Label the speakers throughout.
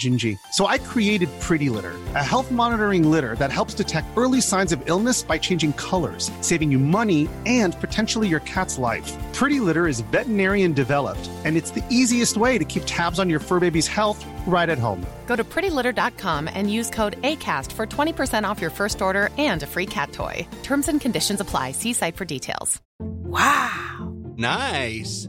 Speaker 1: Gingy. So I created Pretty Litter, a health monitoring litter that helps detect early signs of illness by changing colors, saving you money and potentially your cat's life. Pretty Litter is veterinarian developed, and it's the easiest way to keep tabs on your fur baby's health right at home.
Speaker 2: Go to prettylitter.com and use code ACAST for 20% off your first order and a free cat toy. Terms and conditions apply. See site for details.
Speaker 3: Nice.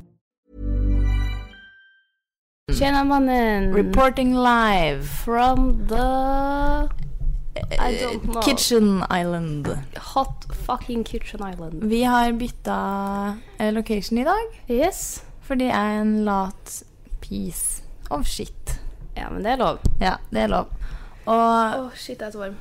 Speaker 4: Tjena
Speaker 5: Mm.
Speaker 4: mannen!
Speaker 5: Reporting live
Speaker 4: From the I don't know.
Speaker 5: Kitchen Island.
Speaker 4: Hot fucking kitchen island.
Speaker 5: Vi har bytta eh, location i dag,
Speaker 4: Yes.
Speaker 5: for det er en lat piece of shit.
Speaker 4: Ja, men det er lov.
Speaker 5: Ja, det er lov. Og
Speaker 4: Åh, Oh, shit, jeg er så varm.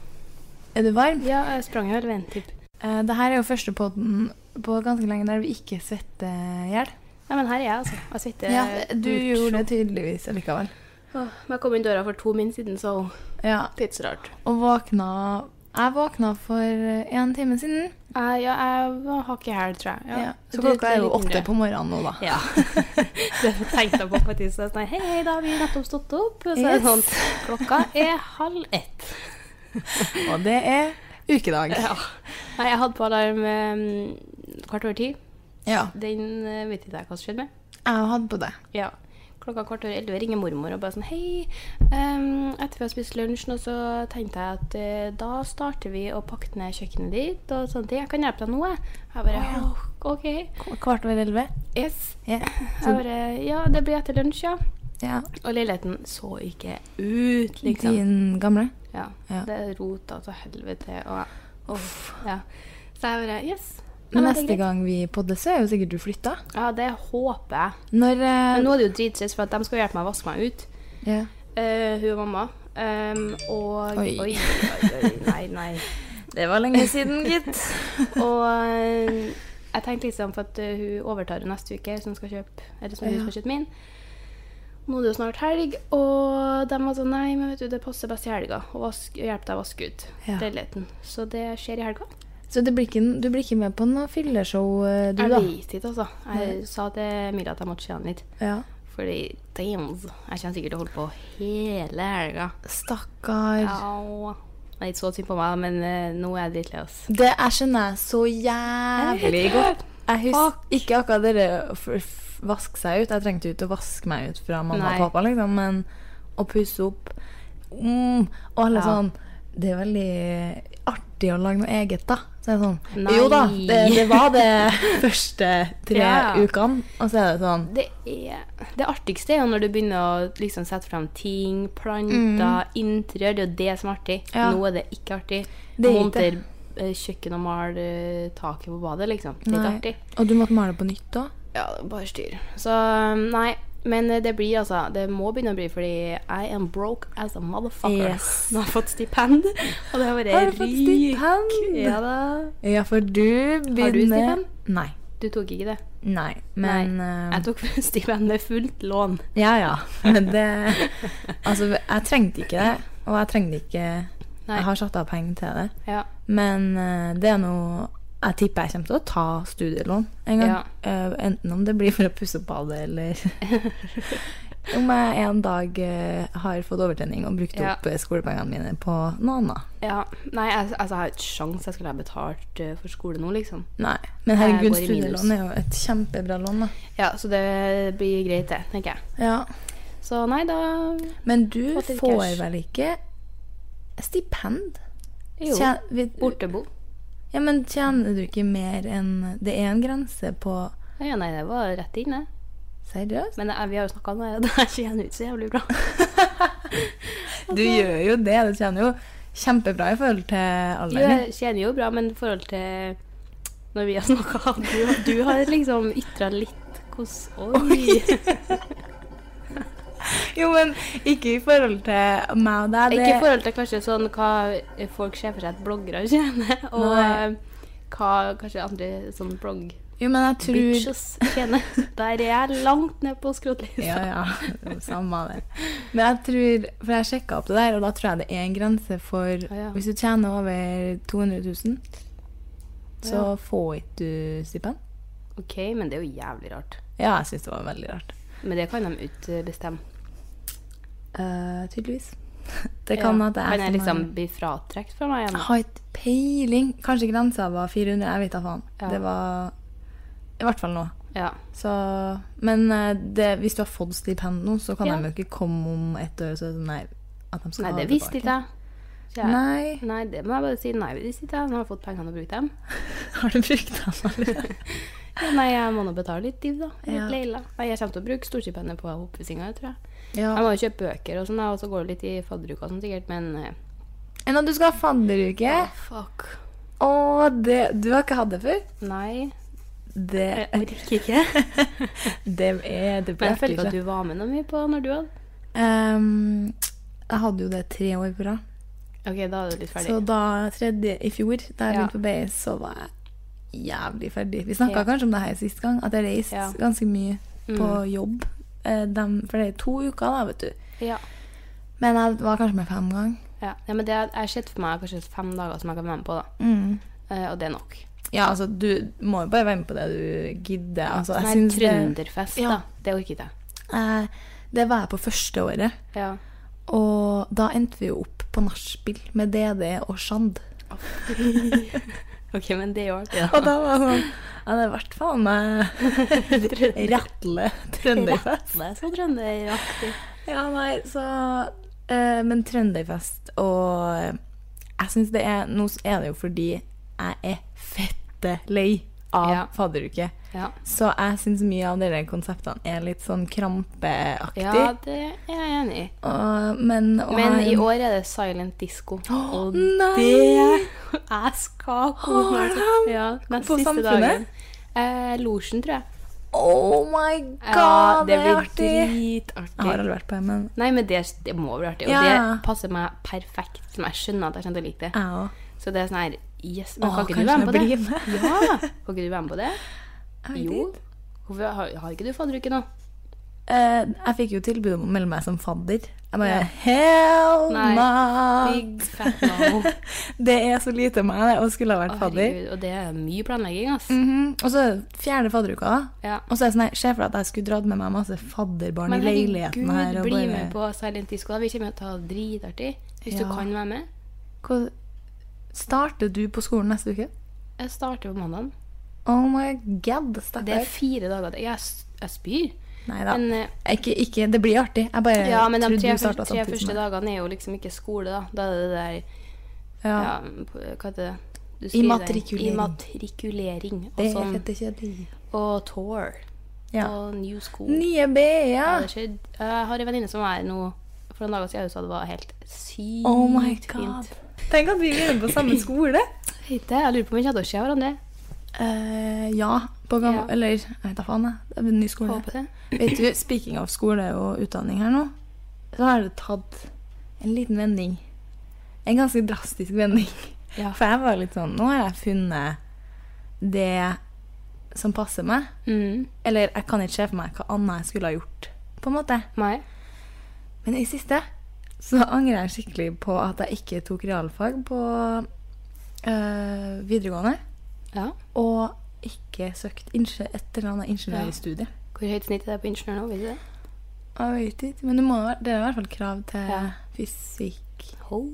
Speaker 5: er du varm?
Speaker 4: Ja, jeg sprang her en tipp.
Speaker 5: Eh, Det her er jo første podden på ganske lenge der vi ikke svetter i hjel. Eh,
Speaker 4: Nei, men her er jeg, altså. Jeg svetter.
Speaker 5: Ja, du gjorde det tydeligvis allikevel.
Speaker 4: Åh, men jeg kom inn døra for to min siden, så
Speaker 5: Ja,
Speaker 4: det er ikke så rart.
Speaker 5: og våkna Jeg våkna for eh, en time siden.
Speaker 4: Eh, ja, jeg har ikke helg, tror jeg. Ja.
Speaker 5: Ja. Så
Speaker 4: Det- det
Speaker 5: klokka er jo
Speaker 4: litt mindre.
Speaker 5: åtte på morgenen nå, da.
Speaker 4: Ja. det tenkte jeg på faktisk. Så jeg sånn, hei, hei, da har vi nettopp stått opp. Og så er det
Speaker 5: Yes.
Speaker 4: sånn, klokka er halv ett.
Speaker 5: Og det er ukedag.
Speaker 4: Nei, jeg hadde på alarm eh, kvart over ti.
Speaker 5: Ja.
Speaker 4: Den eh, vet ikke jeg hva som skjedde med.
Speaker 5: Jeg hadde på det.
Speaker 4: Ja. Klokka kvart over elleve ringer mormor og bare sånn Hei, um, etter vi har spist lunsj nå, så tenkte jeg at eh, da starter vi å pakke ned kjøkkenet ditt og sånne ting. Jeg kan hjelpe deg nå, jeg. Jeg bare «Åh, OK.
Speaker 5: Kvart over elleve.
Speaker 4: Yes.
Speaker 5: Ja.
Speaker 4: Jeg bare Ja, det blir etter lunsj, ja.
Speaker 5: Ja.
Speaker 4: Og leiligheten så ikke ut, liksom.
Speaker 5: Din gamle?
Speaker 4: Ja.
Speaker 5: Ja.
Speaker 4: Det rota til helvete og Uff. Ja. Så jeg bare Yes. Ja,
Speaker 5: Men
Speaker 4: men det er
Speaker 5: neste
Speaker 4: greit.
Speaker 5: gang vi podder, så er jo sikkert du flytta.
Speaker 4: Ja, det håper jeg.
Speaker 5: Når eh,
Speaker 4: Men nå er det jo dritstress, for at de skal hjelpe meg å vaske meg ut.
Speaker 5: ja.
Speaker 4: Eh, hun og mamma. Ehm, og
Speaker 5: Oi.
Speaker 4: oi, oi, oi, nei, nei.
Speaker 5: Det var lenge siden, gitt.
Speaker 4: Og eh, jeg tenkte liksom for at eh, hun overtar jo neste uke, så hun skal kjøpe eller som hun
Speaker 5: Ja.
Speaker 4: skal kjøpe min. Nå er det jo snart helg, og de var sånn Nei, men vet du, det passer best i helga å vaske- å hjelpe deg å vaske ut
Speaker 5: Ja.
Speaker 4: leiligheten. Så det skjer i helga.
Speaker 5: Så det blir ikke, du blir ikke med på noe fylleshow, eh, du,
Speaker 4: Jeg
Speaker 5: da?
Speaker 4: vet ikke, altså. Jeg sa til Mira at jeg måtte kjenne litt.
Speaker 5: Ja.
Speaker 4: Fordi damn, altså. jeg kommer sikkert til å holde på hele helga.
Speaker 5: Stakkar.
Speaker 4: Au. Det er ikke så synd på meg, men eh, nå er jeg drittlei oss.
Speaker 5: Det jeg skjønner jeg så jævlig godt. Jeg
Speaker 4: Fuck.
Speaker 5: husker ikke akkurat dere å f- f- vaske seg ut. Jeg trengte jo ikke å vaske meg ut fra mamma
Speaker 4: Nei.
Speaker 5: og pappa, liksom, men å pusse opp mm, Og alle
Speaker 4: Ja.
Speaker 5: sånn Det er veldig artig å lage noe eget, da. Så er det sånn
Speaker 4: Nei.
Speaker 5: Jo da, det, det var det første tre
Speaker 4: Ja.
Speaker 5: ukene. Og så er det sånn
Speaker 4: Det, er, det artigste er jo når du begynner å liksom sette frem ting, planter, interiør. Det er jo det som er artig.
Speaker 5: Mhm. Ja.
Speaker 4: Nå er det ikke artig.
Speaker 5: Det er ikke
Speaker 4: Monter eh, kjøkken og male eh, taket på badet, liksom. Det er ikke
Speaker 5: nei.
Speaker 4: artig.
Speaker 5: Og du måtte male på nytt òg?
Speaker 4: Ja, det er bare styr. Så nei. Men eh, det blir altså Det må begynne å bli, fordi I am broke as a motherfucker.
Speaker 5: Yes.
Speaker 4: Nå har jeg fått stipend, og det har vært
Speaker 5: Har du fått
Speaker 4: rik-
Speaker 5: stipend?
Speaker 4: Ja da.
Speaker 5: Ja, for du begynner
Speaker 4: stipend?
Speaker 5: Nei.
Speaker 4: Du tok ikke det?
Speaker 5: Nei. Men eh,
Speaker 4: Jeg tok stipend med fullt lån.
Speaker 5: Ja, ja. Men det Altså, jeg trengte ikke det. Og jeg trengte ikke
Speaker 4: Nei.
Speaker 5: Jeg har satt av penger til det.
Speaker 4: Ja.
Speaker 5: Men eh, det er noe Jeg tipper jeg kommer til å ta studielån en gang.
Speaker 4: Ja.
Speaker 5: Eh, enten om det blir for å pusse opp badet eller om jeg en dag eh, har fått overtenning og brukt
Speaker 4: Ja.
Speaker 5: opp eh, skolepengene mine på noe annet.
Speaker 4: Ja, Nei, altså, altså, jeg har ikke sjans jeg skulle ha betalt eh, for skole nå, liksom.
Speaker 5: Nei. Men
Speaker 4: Jeg
Speaker 5: herregud,
Speaker 4: går i minus.
Speaker 5: studielån er jo et kjempebra lån, da.
Speaker 4: Ja, Så det blir greit, det, tenker jeg.
Speaker 5: Ja.
Speaker 4: Så nei, da
Speaker 5: Men du
Speaker 4: Fått litt
Speaker 5: får
Speaker 4: cash.
Speaker 5: vel ikke stipend?
Speaker 4: Jo.
Speaker 5: Tjen- vi-
Speaker 4: Bortebo.
Speaker 5: Ja, men tjener du ikke mer enn Det er en grense på
Speaker 4: Ja, nei, det var rett inn, det.
Speaker 5: Seriøst?
Speaker 4: Men jeg- vi har jo snakka om det, det her tjener ut så jævlig bra.
Speaker 5: Du gjør jo det. Altså, Du tjener jo kjempebra i forhold til
Speaker 4: Jo,
Speaker 5: alderen.
Speaker 4: jeg tjener jo bra, men i forhold til når vi har snakka du, du har liksom ytra litt hvordan Oi!
Speaker 5: din. Jo, men ikke i forhold til meg og deg.
Speaker 4: Ikke i forhold til kanskje sånn hva folk ser for seg at bloggere tjener, og
Speaker 5: Nei.
Speaker 4: eh, hva kanskje andre sånn blogg-bitches
Speaker 5: Jo, men jeg tror
Speaker 4: tjener. Der er jeg langt ned på skrotlista.
Speaker 5: Ja, ja. Samme det. Men jeg tror For jeg sjekka opp det der, og da tror jeg det er en grense for
Speaker 4: Å, ja.
Speaker 5: Hvis du tjener over 200 000, så får ikke du stipend.
Speaker 4: OK, men det er jo jævlig rart.
Speaker 5: Ja, jeg syns det var veldig rart.
Speaker 4: Men det kan de ikke bestemme.
Speaker 5: Eh, tydeligvis. Det kan
Speaker 4: Ja.
Speaker 5: at det er
Speaker 4: Kan jeg
Speaker 5: som
Speaker 4: liksom
Speaker 5: har-
Speaker 4: bli fratrukket fra meg
Speaker 5: Jeg
Speaker 4: igjen?
Speaker 5: har ikke peiling. Kanskje grensa var 400, jeg vet da faen.
Speaker 4: Ja.
Speaker 5: Det var I hvert fall nå.
Speaker 4: Ja.
Speaker 5: Så, men eh, det, hvis du har fått stipend nå, så kan
Speaker 4: Ja.
Speaker 5: de jo ikke komme om ett år og så nei, at de skal
Speaker 4: Nei,
Speaker 5: ha
Speaker 4: det visste ikke jeg. Så jeg-
Speaker 5: Nei.
Speaker 4: Nei, det må jeg bare si. Nei, det visste ikke jeg. Nå har jeg fått pengene og brukt dem.
Speaker 5: Har du brukt dem allerede?
Speaker 4: Ja, Nei, jeg må nå betale litt div, da. Litt
Speaker 5: Ja.
Speaker 4: leila. Nei, jeg kommer til å bruke storstipendet på oppussinga, tror jeg.
Speaker 5: ja.
Speaker 4: Jeg må jo kjøpe bøker og sånn, da, og så går det litt i fadderuka og sånn sikkert, men eh,
Speaker 5: Enn at du skal ha fadderuke?
Speaker 4: Fuck.
Speaker 5: Å, det Du har ikke hatt det før?
Speaker 4: Nei,
Speaker 5: Det,
Speaker 4: jeg orker ikke.
Speaker 5: det er det
Speaker 4: Men jeg føler ikke at
Speaker 5: ikke.
Speaker 4: du var med noe mye på når du hadde.
Speaker 5: Ehm, jeg hadde jo det tre år på rad.
Speaker 4: OK, da er du litt
Speaker 5: Så
Speaker 4: ferdig.
Speaker 5: da tredje i fjor, da jeg
Speaker 4: Ja.
Speaker 5: begynte på BI, så var jeg jævlig ferdig. Vi snakka
Speaker 4: Ja.
Speaker 5: kanskje om det her sist gang, at jeg reiste
Speaker 4: Ja. Mm.
Speaker 5: ganske mye på jobb. Eh, dem, for det er to uker, da, vet du.
Speaker 4: Ja.
Speaker 5: Men jeg var kanskje med fem ganger.
Speaker 4: Ja. ja, men det jeg har sett for meg kanskje fem dager som jeg kan være med på, da. Eh, og det er nok.
Speaker 5: Ja, altså, du må jo bare være med på det du gidder. Altså, jeg
Speaker 4: Sånn her
Speaker 5: synes det,
Speaker 4: trønderfest,
Speaker 5: Ja.
Speaker 4: da. Det orker ikke jeg.
Speaker 5: eh, det var jeg på første året.
Speaker 4: Ja.
Speaker 5: Og da endte vi jo opp på nachspiel med DD og Shand.
Speaker 4: OK, men det er jo artig.
Speaker 5: Og da var jeg sånn Ja, det ble faen meg
Speaker 4: Trønder-
Speaker 5: ratle eh, trønderfest.
Speaker 4: Det er så trønderaktig.
Speaker 5: Ja, nei, så eh, Men Trønderfest og eh, Jeg syns det er Nå er det jo fordi jeg er fette lei av
Speaker 4: Ja.
Speaker 5: fadderuke.
Speaker 4: Ja.
Speaker 5: Så jeg syns mye av de der konseptene er litt sånn krampeaktig.
Speaker 4: ja, det er jeg enig i.
Speaker 5: Og, men å
Speaker 4: Men
Speaker 5: ha
Speaker 4: i
Speaker 5: en-
Speaker 4: år er det silent disco. Og
Speaker 5: nei!
Speaker 4: det Jeg skal kose meg.
Speaker 5: Har de?
Speaker 4: Ja, den
Speaker 5: På
Speaker 4: siste
Speaker 5: Samfunnet?
Speaker 4: dagen. Eh, Losjen, tror jeg.
Speaker 5: Oh my god,
Speaker 4: Ja,
Speaker 5: det,
Speaker 4: blir
Speaker 5: er artig! Jeg har
Speaker 4: dritartig.
Speaker 5: aldri vært på det, men
Speaker 4: Nei, men det, det må bli artig. Og
Speaker 5: Ja.
Speaker 4: det passer meg perfekt, som jeg skjønner at jeg kommer til å like det.
Speaker 5: jeg òg.
Speaker 4: Så det er sånn her Yes, men
Speaker 5: Åh,
Speaker 4: kan ikke
Speaker 5: kanskje
Speaker 4: du være med på det?
Speaker 5: jeg blir med.
Speaker 4: Ja, kan ikke du være med på det?
Speaker 5: Jeg vet
Speaker 4: Jo.
Speaker 5: ikke.
Speaker 4: Hvorfor har, har ikke du fadderuke nå?
Speaker 5: Eh, jeg fikk jo tilbud om å melde meg som fadder. Jeg bare Hell
Speaker 4: Nei.
Speaker 5: no!
Speaker 4: Big fat no.
Speaker 5: Det er så lite meg det, og skulle ha vært fadder.
Speaker 4: Herregud, og det er mye planlegging, ass.
Speaker 5: Mhm, Og så er det fjerde fadderuka, da.
Speaker 4: Ja.
Speaker 5: Og så er jeg sånn, her, se for deg at jeg skulle dratt med meg masse fadderbarn i
Speaker 4: Men
Speaker 5: leiligheten her.
Speaker 4: herregud,
Speaker 5: Og
Speaker 4: bli
Speaker 5: bare,
Speaker 4: med på Silent Disco. da. Vi kommer til å ha det dritartig. Hvis du
Speaker 5: Ja.
Speaker 4: kan være med.
Speaker 5: Hvor- starter du på skolen neste uke?
Speaker 4: Jeg starter på mandag.
Speaker 5: Oh my god,
Speaker 4: Det er
Speaker 5: stakkar.
Speaker 4: fire dager til. Jeg, s- jeg spyr.
Speaker 5: Nei da.
Speaker 4: Men, eh,
Speaker 5: Ikke, ikke, det blir artig. Jeg bare
Speaker 4: ja, men de
Speaker 5: Eh, trodde
Speaker 4: tre,
Speaker 5: du sånn
Speaker 4: første,
Speaker 5: starta
Speaker 4: tre
Speaker 5: samtidig
Speaker 4: første
Speaker 5: som meg.
Speaker 4: dagene er jo liksom ikke skole, da. Da er det det der
Speaker 5: Ja.
Speaker 4: ja, på- Hva heter det? Du skriver deg inn.
Speaker 5: Immatrikulering.
Speaker 4: Immatrikulering. Og
Speaker 5: Det er
Speaker 4: sånn.
Speaker 5: fette kjedelig.
Speaker 4: Og tour.
Speaker 5: Ja.
Speaker 4: Og new school.
Speaker 5: Nye E BE,
Speaker 4: Ja,
Speaker 5: ja.
Speaker 4: det skjedde. Jeg har en venninne som var her nå for noen dager siden, hun sa det var helt sykt
Speaker 5: Oh my god.
Speaker 4: fint.
Speaker 5: Tenk at vi begynner på samme skole.
Speaker 4: Vet det, Jeg lurer på om vi kommer til å se hverandre.
Speaker 5: Eh, ja, på
Speaker 4: Ja.
Speaker 5: gammel, eller jeg vet da faen, jeg. Det er en ny skole.
Speaker 4: Håper det.
Speaker 5: Vet du, speaking av skole og utdanning her nå, så har det tatt en liten vending. En ganske drastisk vending.
Speaker 4: Ja.
Speaker 5: For jeg var litt sånn Nå har jeg funnet det som passer meg.
Speaker 4: Mm.
Speaker 5: Eller jeg kan ikke se for meg hva annet jeg skulle ha gjort. på en måte.
Speaker 4: Meg?
Speaker 5: Men i siste så angrer jeg skikkelig på at jeg ikke tok realfag på øh, videregående.
Speaker 4: Ja.
Speaker 5: Og ikke søkt ingeniør, et eller annet ingeniørstudie.
Speaker 4: Hvor høyt snitt er det på ingeniør nå? Vet du det?
Speaker 5: Åh, Jeg vet ikke, men det, må, være- det er i hvert fall krav til
Speaker 4: Ja.
Speaker 5: fysikk og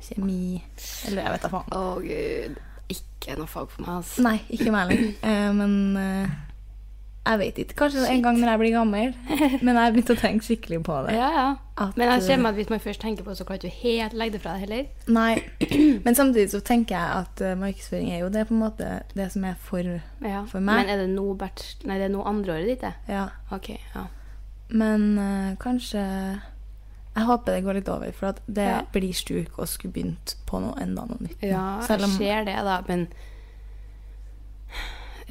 Speaker 5: kjemi. Eller jeg vet da faen.
Speaker 4: Å, gud. Ikke noe fag for meg, altså.
Speaker 5: Nei, ikke meg heller. Eh, Men eh, jeg vet ikke. Kanskje en gang når jeg blir gammel. Men jeg har begynt å tenke skikkelig på det.
Speaker 4: Ja, ja.
Speaker 5: At,
Speaker 4: Men jeg ser meg at eh, hvis man først tenker på det, så klarer du ikke helt legge det fra deg heller.
Speaker 5: Nei. Men samtidig så tenker jeg at eh, markedsføring er jo det på en måte det som er for
Speaker 4: Ja.
Speaker 5: For meg-
Speaker 4: Men er det nå bachelor... Nei, det er nå andreåret ditt, det.
Speaker 5: Ja.
Speaker 4: Ok, ja.
Speaker 5: Men eh, kanskje Jeg håper det går litt over, for at det
Speaker 4: Ja.
Speaker 5: blir sjuk å skulle begynt på noe enda noe nytt. nå.
Speaker 4: Ja,
Speaker 5: Selv om-
Speaker 4: jeg ser det, da, men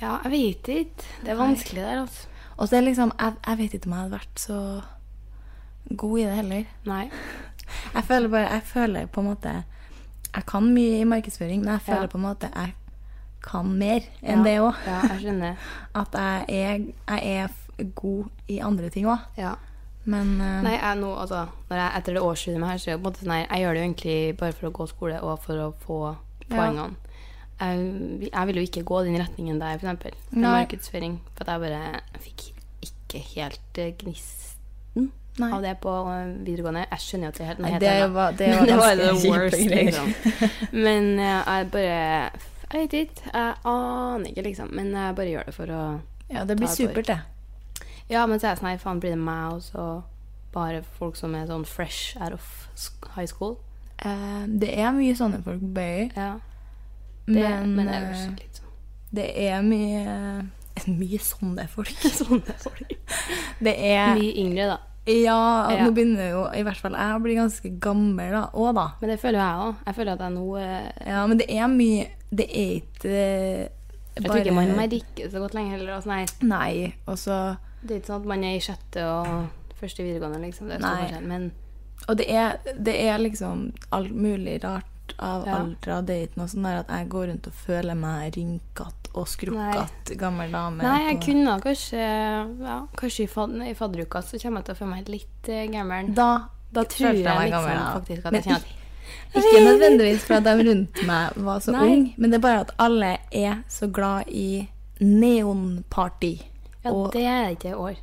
Speaker 4: Ja, jeg vet ikke. Det er vanskelig der, altså.
Speaker 5: Og så er det liksom jeg, jeg vet ikke om jeg hadde vært så god i det heller.
Speaker 4: Nei.
Speaker 5: Jeg føler bare Jeg føler på en måte Jeg kan mye i markedsføring, men jeg føler
Speaker 4: Ja.
Speaker 5: på en måte jeg kan mer
Speaker 4: Ja.
Speaker 5: enn det òg.
Speaker 4: Ja, jeg skjønner.
Speaker 5: At jeg er, jeg er f- god i andre ting òg.
Speaker 4: Ja.
Speaker 5: Men eh,
Speaker 4: Nei, jeg nå, altså, når jeg, etter det årsstudiet med her, så er det på en måte sånn her, jeg gjør det jo egentlig bare for å gå skole og for å få poengene. Jeg, jeg vil jo ikke gå den retningen der, for eksempel, med
Speaker 5: Nei.
Speaker 4: markedsføring, for at jeg bare fikk ikke helt eh, gnisten
Speaker 5: Nei.
Speaker 4: av det på eh, videregående. Jeg skjønner jo at det er helt, noe
Speaker 5: Nei,
Speaker 4: helt
Speaker 5: det
Speaker 4: annet.
Speaker 5: var- det var
Speaker 4: Men det var
Speaker 5: ganske
Speaker 4: the
Speaker 5: kjipe
Speaker 4: worst,
Speaker 5: greier.
Speaker 4: liksom. Men eh, jeg bare, jeg vet ikke, jeg aner ikke, liksom, men jeg bare gjør det for å...
Speaker 5: ja, det
Speaker 4: Da
Speaker 5: blir
Speaker 4: er det
Speaker 5: supert, det.
Speaker 4: Ja, men så er jeg sånn, nei, faen blir det meg også bare folk som er sånn fresh out of sk- high school.
Speaker 5: Eh, det er mye sånne folk på Bøyer.
Speaker 4: Ja, det,
Speaker 5: Men,
Speaker 4: men det er jo
Speaker 5: eh,
Speaker 4: litt sånn.
Speaker 5: det er mye eh, Mye sånne folk.
Speaker 4: Sånne folk.
Speaker 5: Det er
Speaker 4: Mye yngre, da.
Speaker 5: Ja,
Speaker 4: Ja.
Speaker 5: nå begynner jo i hvert fall jeg å bli ganske gammel da, òg, da.
Speaker 4: Men det føler jo jeg òg. Jeg føler at jeg nå eh,
Speaker 5: Ja, men det er mye Det er ikke eh,
Speaker 4: Jeg tror ikke man merker så godt lenger heller. Altså, nei,
Speaker 5: Nei, og så
Speaker 4: det er ikke sånn at man er i sjette og første videregående, liksom. Det er stor
Speaker 5: Nei.
Speaker 4: forskjell. Men
Speaker 5: Og det er, det er liksom alt mulig rart av
Speaker 4: Ja.
Speaker 5: alder av daten og sånn der at jeg går rundt og føler meg rynkete og skrukkete gammel dame.
Speaker 4: nei, jeg
Speaker 5: på-
Speaker 4: kunne kanskje ja, Kanskje i, fad, i fadderuka så kommer jeg til å føle meg litt eh, gammel.
Speaker 5: Da,
Speaker 4: da tror jeg,
Speaker 5: følte jeg meg
Speaker 4: liksom
Speaker 5: gammel, ja.
Speaker 4: faktisk at
Speaker 5: Men
Speaker 4: jeg kjenner at
Speaker 5: Ikke nødvendigvis for at de rundt meg var så
Speaker 4: Nei.
Speaker 5: unge, men det er bare at alle er så glad i neonparty.
Speaker 4: Ja,
Speaker 5: og-
Speaker 4: det er ikke i år.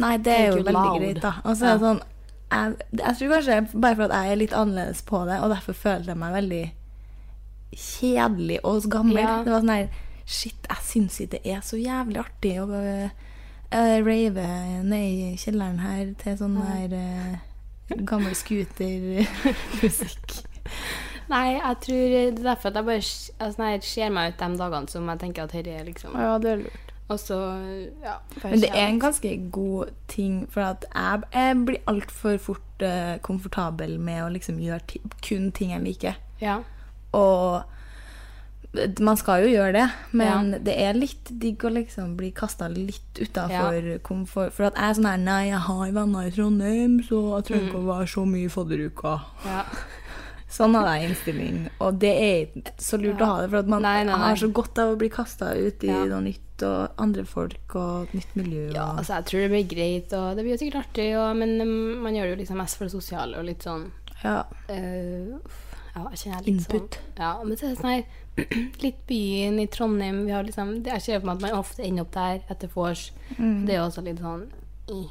Speaker 5: Nei, det er jo
Speaker 4: Tenker
Speaker 5: veldig
Speaker 4: loud.
Speaker 5: greit, da. Og så er det sånn jeg, jeg tror kanskje bare for at jeg er litt annerledes på det, og derfor føler jeg meg veldig kjedelig og gammel.
Speaker 4: Ja.
Speaker 5: Det var sånn her Shit, jeg syns ikke det er så jævlig artig å øh, øh, rave ned i kjelleren her til sånn her øh, gammel scooter-musikk.
Speaker 4: Nei, jeg tror det er derfor at jeg bare s- altså, nei, ser meg ut de dagene som jeg tenker at dette er liksom
Speaker 5: det er lurt.
Speaker 4: Og så, ja. bare
Speaker 5: Men det
Speaker 4: ser
Speaker 5: er en
Speaker 4: jeg-
Speaker 5: ganske god ting, for at jeg, jeg blir altfor fort øh, komfortabel med å liksom gjøre ti kun ting jeg liker.
Speaker 4: Ja.
Speaker 5: Og man skal jo gjøre det, men
Speaker 4: Ja.
Speaker 5: det er litt digg å liksom bli kasta litt utafor
Speaker 4: Ja.
Speaker 5: komfort. For at jeg er sånn her Nei, jeg har venner i Trondheim, så jeg trenger
Speaker 4: Mm.
Speaker 5: ikke å være så mye i fadderuka.
Speaker 4: ja.
Speaker 5: Sånn hadde jeg innstillingen. Og det er ikke så lurt å ha det, for at man
Speaker 4: Nei, nei, nei.
Speaker 5: har så godt av å bli kasta ut i
Speaker 4: Ja.
Speaker 5: noe nytt og andre folk og et nytt miljø. Og...
Speaker 4: ja. Altså, jeg tror det blir greit, og det blir jo sikkert artig, og, men um, man gjør det jo liksom mest for det sosiale og litt sånn
Speaker 5: Ja.
Speaker 4: eh, uff, ja, jeg kjenner jeg er litt
Speaker 5: Input.
Speaker 4: sånn Ja, men så er det sånn her Litt byen i Trondheim, vi har liksom det- Jeg ser for meg at man ofte ender opp der etter vors.
Speaker 5: Mm.
Speaker 4: Det er jo også litt sånn eh,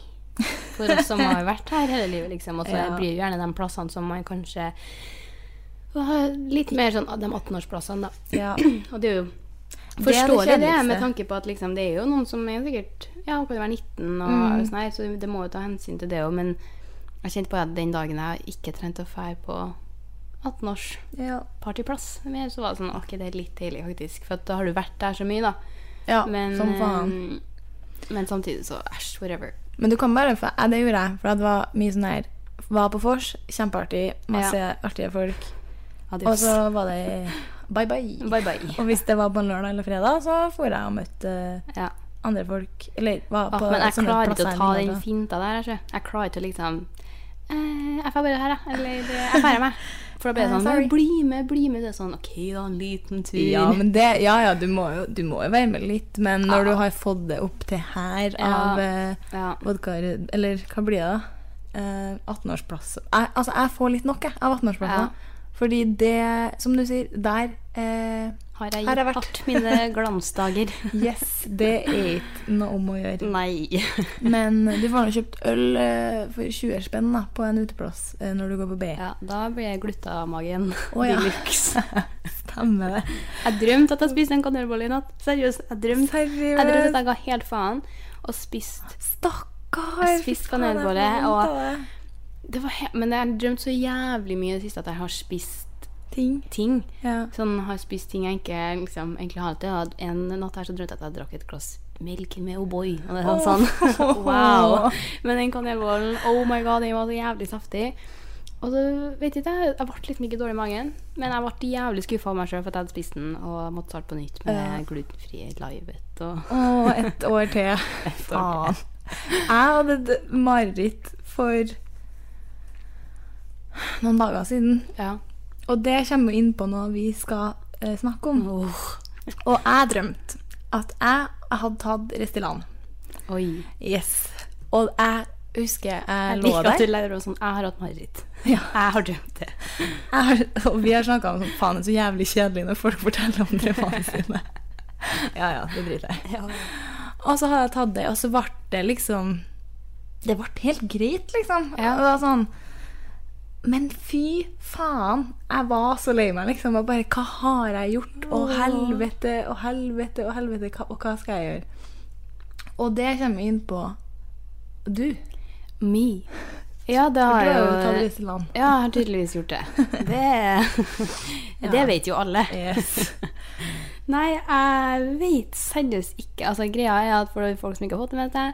Speaker 4: For oss som har vært her hele livet, liksom. Og så
Speaker 5: Ja.
Speaker 4: blir det gjerne de plassene som man kanskje Åh, Litt mer sånn de 18-årsplassene, da.
Speaker 5: Ja.
Speaker 4: Og det er jo
Speaker 5: er det
Speaker 4: Forstår jeg det,
Speaker 5: kjedeligste.
Speaker 4: med tanke på at liksom, det er jo noen som er sikkert Ja, hun kan være 19, og
Speaker 5: Mm.
Speaker 4: sånn her, så det må jo ta hensyn til det òg. Men jeg kjente på at den dagen jeg ikke trengte å dra på 18-års
Speaker 5: Ja.
Speaker 4: partyplass mer, så var det sånn OK, det er litt deilig, faktisk. For at da har du vært der så mye, da.
Speaker 5: Ja,
Speaker 4: Men,
Speaker 5: som faen.
Speaker 4: eh, men samtidig så æsj, whatever.
Speaker 5: Men du kan bare for, ja, Det gjorde jeg, for det var mye sånn her Var på vors, kjempeartig, masse artige folk.
Speaker 4: Adios.
Speaker 5: Og så var det bye bye.
Speaker 4: Bye bye.
Speaker 5: Og hvis det var på en lørdag eller fredag, så for jeg og møtte eh,
Speaker 4: Ja.
Speaker 5: andre folk. Eller var
Speaker 4: Åh,
Speaker 5: på
Speaker 4: Ah, men jeg
Speaker 5: sånne
Speaker 4: klarer ikke å
Speaker 5: plasser
Speaker 4: ta
Speaker 5: jeg
Speaker 4: den
Speaker 5: liker.
Speaker 4: finta der. Jeg, jeg klarer ikke å liksom eh, Jeg får bare her, jeg. Eller det- jeg feirer meg. For da blir det
Speaker 5: Eh,
Speaker 4: sånn
Speaker 5: sorry.
Speaker 4: «Men Bli med, bli med. Det er sånn OK, da, en liten tur.
Speaker 5: Ja, men det, ja, ja du, må jo, du må jo være med litt, men når du har fått det opp til her
Speaker 4: Ja.
Speaker 5: av eh,
Speaker 4: Ja.
Speaker 5: vodka Eller hva blir det, da? Eh, 18-årsplass. Jeg- Altså, jeg får litt nok jeg, av 18-årsplassen.
Speaker 4: Ja.
Speaker 5: Fordi det, som du sier, der eh,
Speaker 4: Har jeg
Speaker 5: Har
Speaker 4: gitt
Speaker 5: jeg vært.
Speaker 4: hardt mine glansdager?
Speaker 5: Yes, det er ikke noe om å gjøre.
Speaker 4: Nei.
Speaker 5: Men du får nå kjøpt øl eh, for 20 spenn da, på en uteplass eh, når du går på BI.
Speaker 4: Ja, da blir jeg glutamagen.
Speaker 5: Å, ja.
Speaker 4: de luxe.
Speaker 5: Stemmer det.
Speaker 4: Jeg drømte at jeg spiste en kanelbolle i natt. Seriøst. Jeg drømte Jeg drømte at jeg ga helt faen og spiste
Speaker 5: Stakkar!
Speaker 4: Jeg spiste
Speaker 5: fy faen, jeg får
Speaker 4: kanelbolle,
Speaker 5: vondt
Speaker 4: og-
Speaker 5: av det.
Speaker 4: det var he Men jeg har drømt så jævlig mye i det siste at jeg har spist
Speaker 5: Ting.
Speaker 4: ting.
Speaker 5: Ja.
Speaker 4: Sånn har spist ting jeg ikke liksom, egentlig har alltid hatt. En natt her så drømte jeg at jeg drakk et glass melk med O'boy. Og det er sånn, sånn. wow! Men den kanelbollen, oh my god, den var så jævlig saftig. Og så vet ikke jeg, jeg ble litt mye dårlig i magen, men jeg ble jævlig skuffa av meg sjøl for at jeg hadde spist den og måtte starte på nytt med
Speaker 5: Ja.
Speaker 4: glutenfri livet og
Speaker 5: Og ett år
Speaker 4: år
Speaker 5: til. Faen. Jeg hadde et mareritt for noen dager siden.
Speaker 4: Ja.
Speaker 5: Og det kommer jo inn på noe vi skal eh, snakke om. Og jeg drømte at jeg hadde tatt Restylane.
Speaker 4: Oi.
Speaker 5: Yes. Og jeg husker jeg,
Speaker 4: Jeg
Speaker 5: lå
Speaker 4: liker at du
Speaker 5: der.
Speaker 4: lærer oss sånn Jeg har hatt mareritt. Jeg
Speaker 5: Ja.
Speaker 4: har drømt det.
Speaker 5: Jeg har, og vi har snakka om sånn Faen, det er så jævlig kjedelig når folk forteller om drømmene sine. ja ja, det driter jeg i. Og så har jeg tatt det, og så ble det liksom Det ble helt greit, liksom.
Speaker 4: Ja.
Speaker 5: Det var sånn Men fy faen, jeg var så lei meg, liksom. Jeg bare Hva har jeg gjort? Å, helvete, og helvete, og helvete. hva- Og hva skal jeg gjøre? Og det kommer vi inn på du.
Speaker 4: Me. Ja, det
Speaker 5: For
Speaker 4: har
Speaker 5: du
Speaker 4: jeg
Speaker 5: har jo
Speaker 4: jo
Speaker 5: tatt Riseland.
Speaker 4: Ja, jeg har tydeligvis gjort det. Det, det vet jo alle.
Speaker 5: Yes.
Speaker 4: Nei, jeg vet seriøst ikke. Altså, greia er at for folk som ikke har fått det med seg,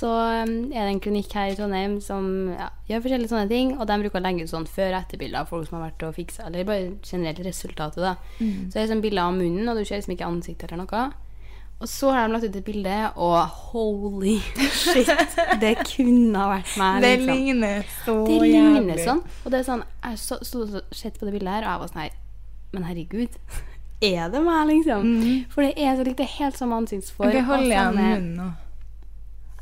Speaker 4: så um, er det en klinikk her i Trondheim som ja, gjør forskjellige sånne ting, og de bruker å legge ut sånn før- og etterbilder av folk som har vært og fiksa, eller bare generelt resultatet, da. Så det er sånn bilder av munnen, og du ser liksom ikke ansiktet eller noe. Og så har de lagt ut et bilde, og holy shit, det kunne ha vært meg.
Speaker 5: Det
Speaker 4: liksom.
Speaker 5: ligner så
Speaker 4: Det ligner
Speaker 5: jævlig.
Speaker 4: sånn. Og det er sånn, jeg så- sto og sett på det bildet her, og jeg var sånn her Men herregud, er det meg, liksom? For det er så likt. Det er helt samme ansiktsform.
Speaker 5: Mhm. Ok, hold
Speaker 4: og
Speaker 5: igjen
Speaker 4: samme-
Speaker 5: munnen nå.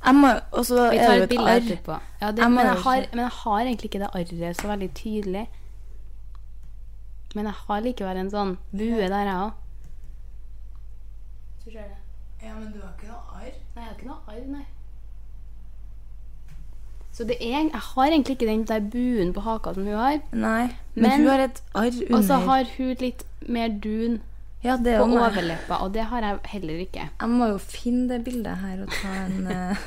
Speaker 5: Jeg må Og så
Speaker 4: Vi
Speaker 5: er
Speaker 4: tar
Speaker 5: det jo
Speaker 4: et
Speaker 5: et
Speaker 4: bilde
Speaker 5: arr.
Speaker 4: etterpå. Ja, det,
Speaker 5: Jeg må
Speaker 4: men, jeg
Speaker 5: jo
Speaker 4: har,
Speaker 5: ikke-
Speaker 4: men jeg har egentlig ikke det arret så veldig tydelig. Men jeg har likevel en sånn bue der, jeg òg. Du ser det.
Speaker 5: Ja, men du har ikke noe arr?
Speaker 4: Nei, jeg har ikke noe arr, nei. Så det er, jeg har egentlig ikke den der buen på haka som hun har.
Speaker 5: Nei. Men,
Speaker 4: Men-
Speaker 5: du har et arr under.
Speaker 4: Og så har hun litt mer dun
Speaker 5: ja, det er
Speaker 4: på
Speaker 5: jo meg.
Speaker 4: overleppa, og det har jeg heller ikke.
Speaker 5: Jeg må jo finne det bildet her og ta en eh,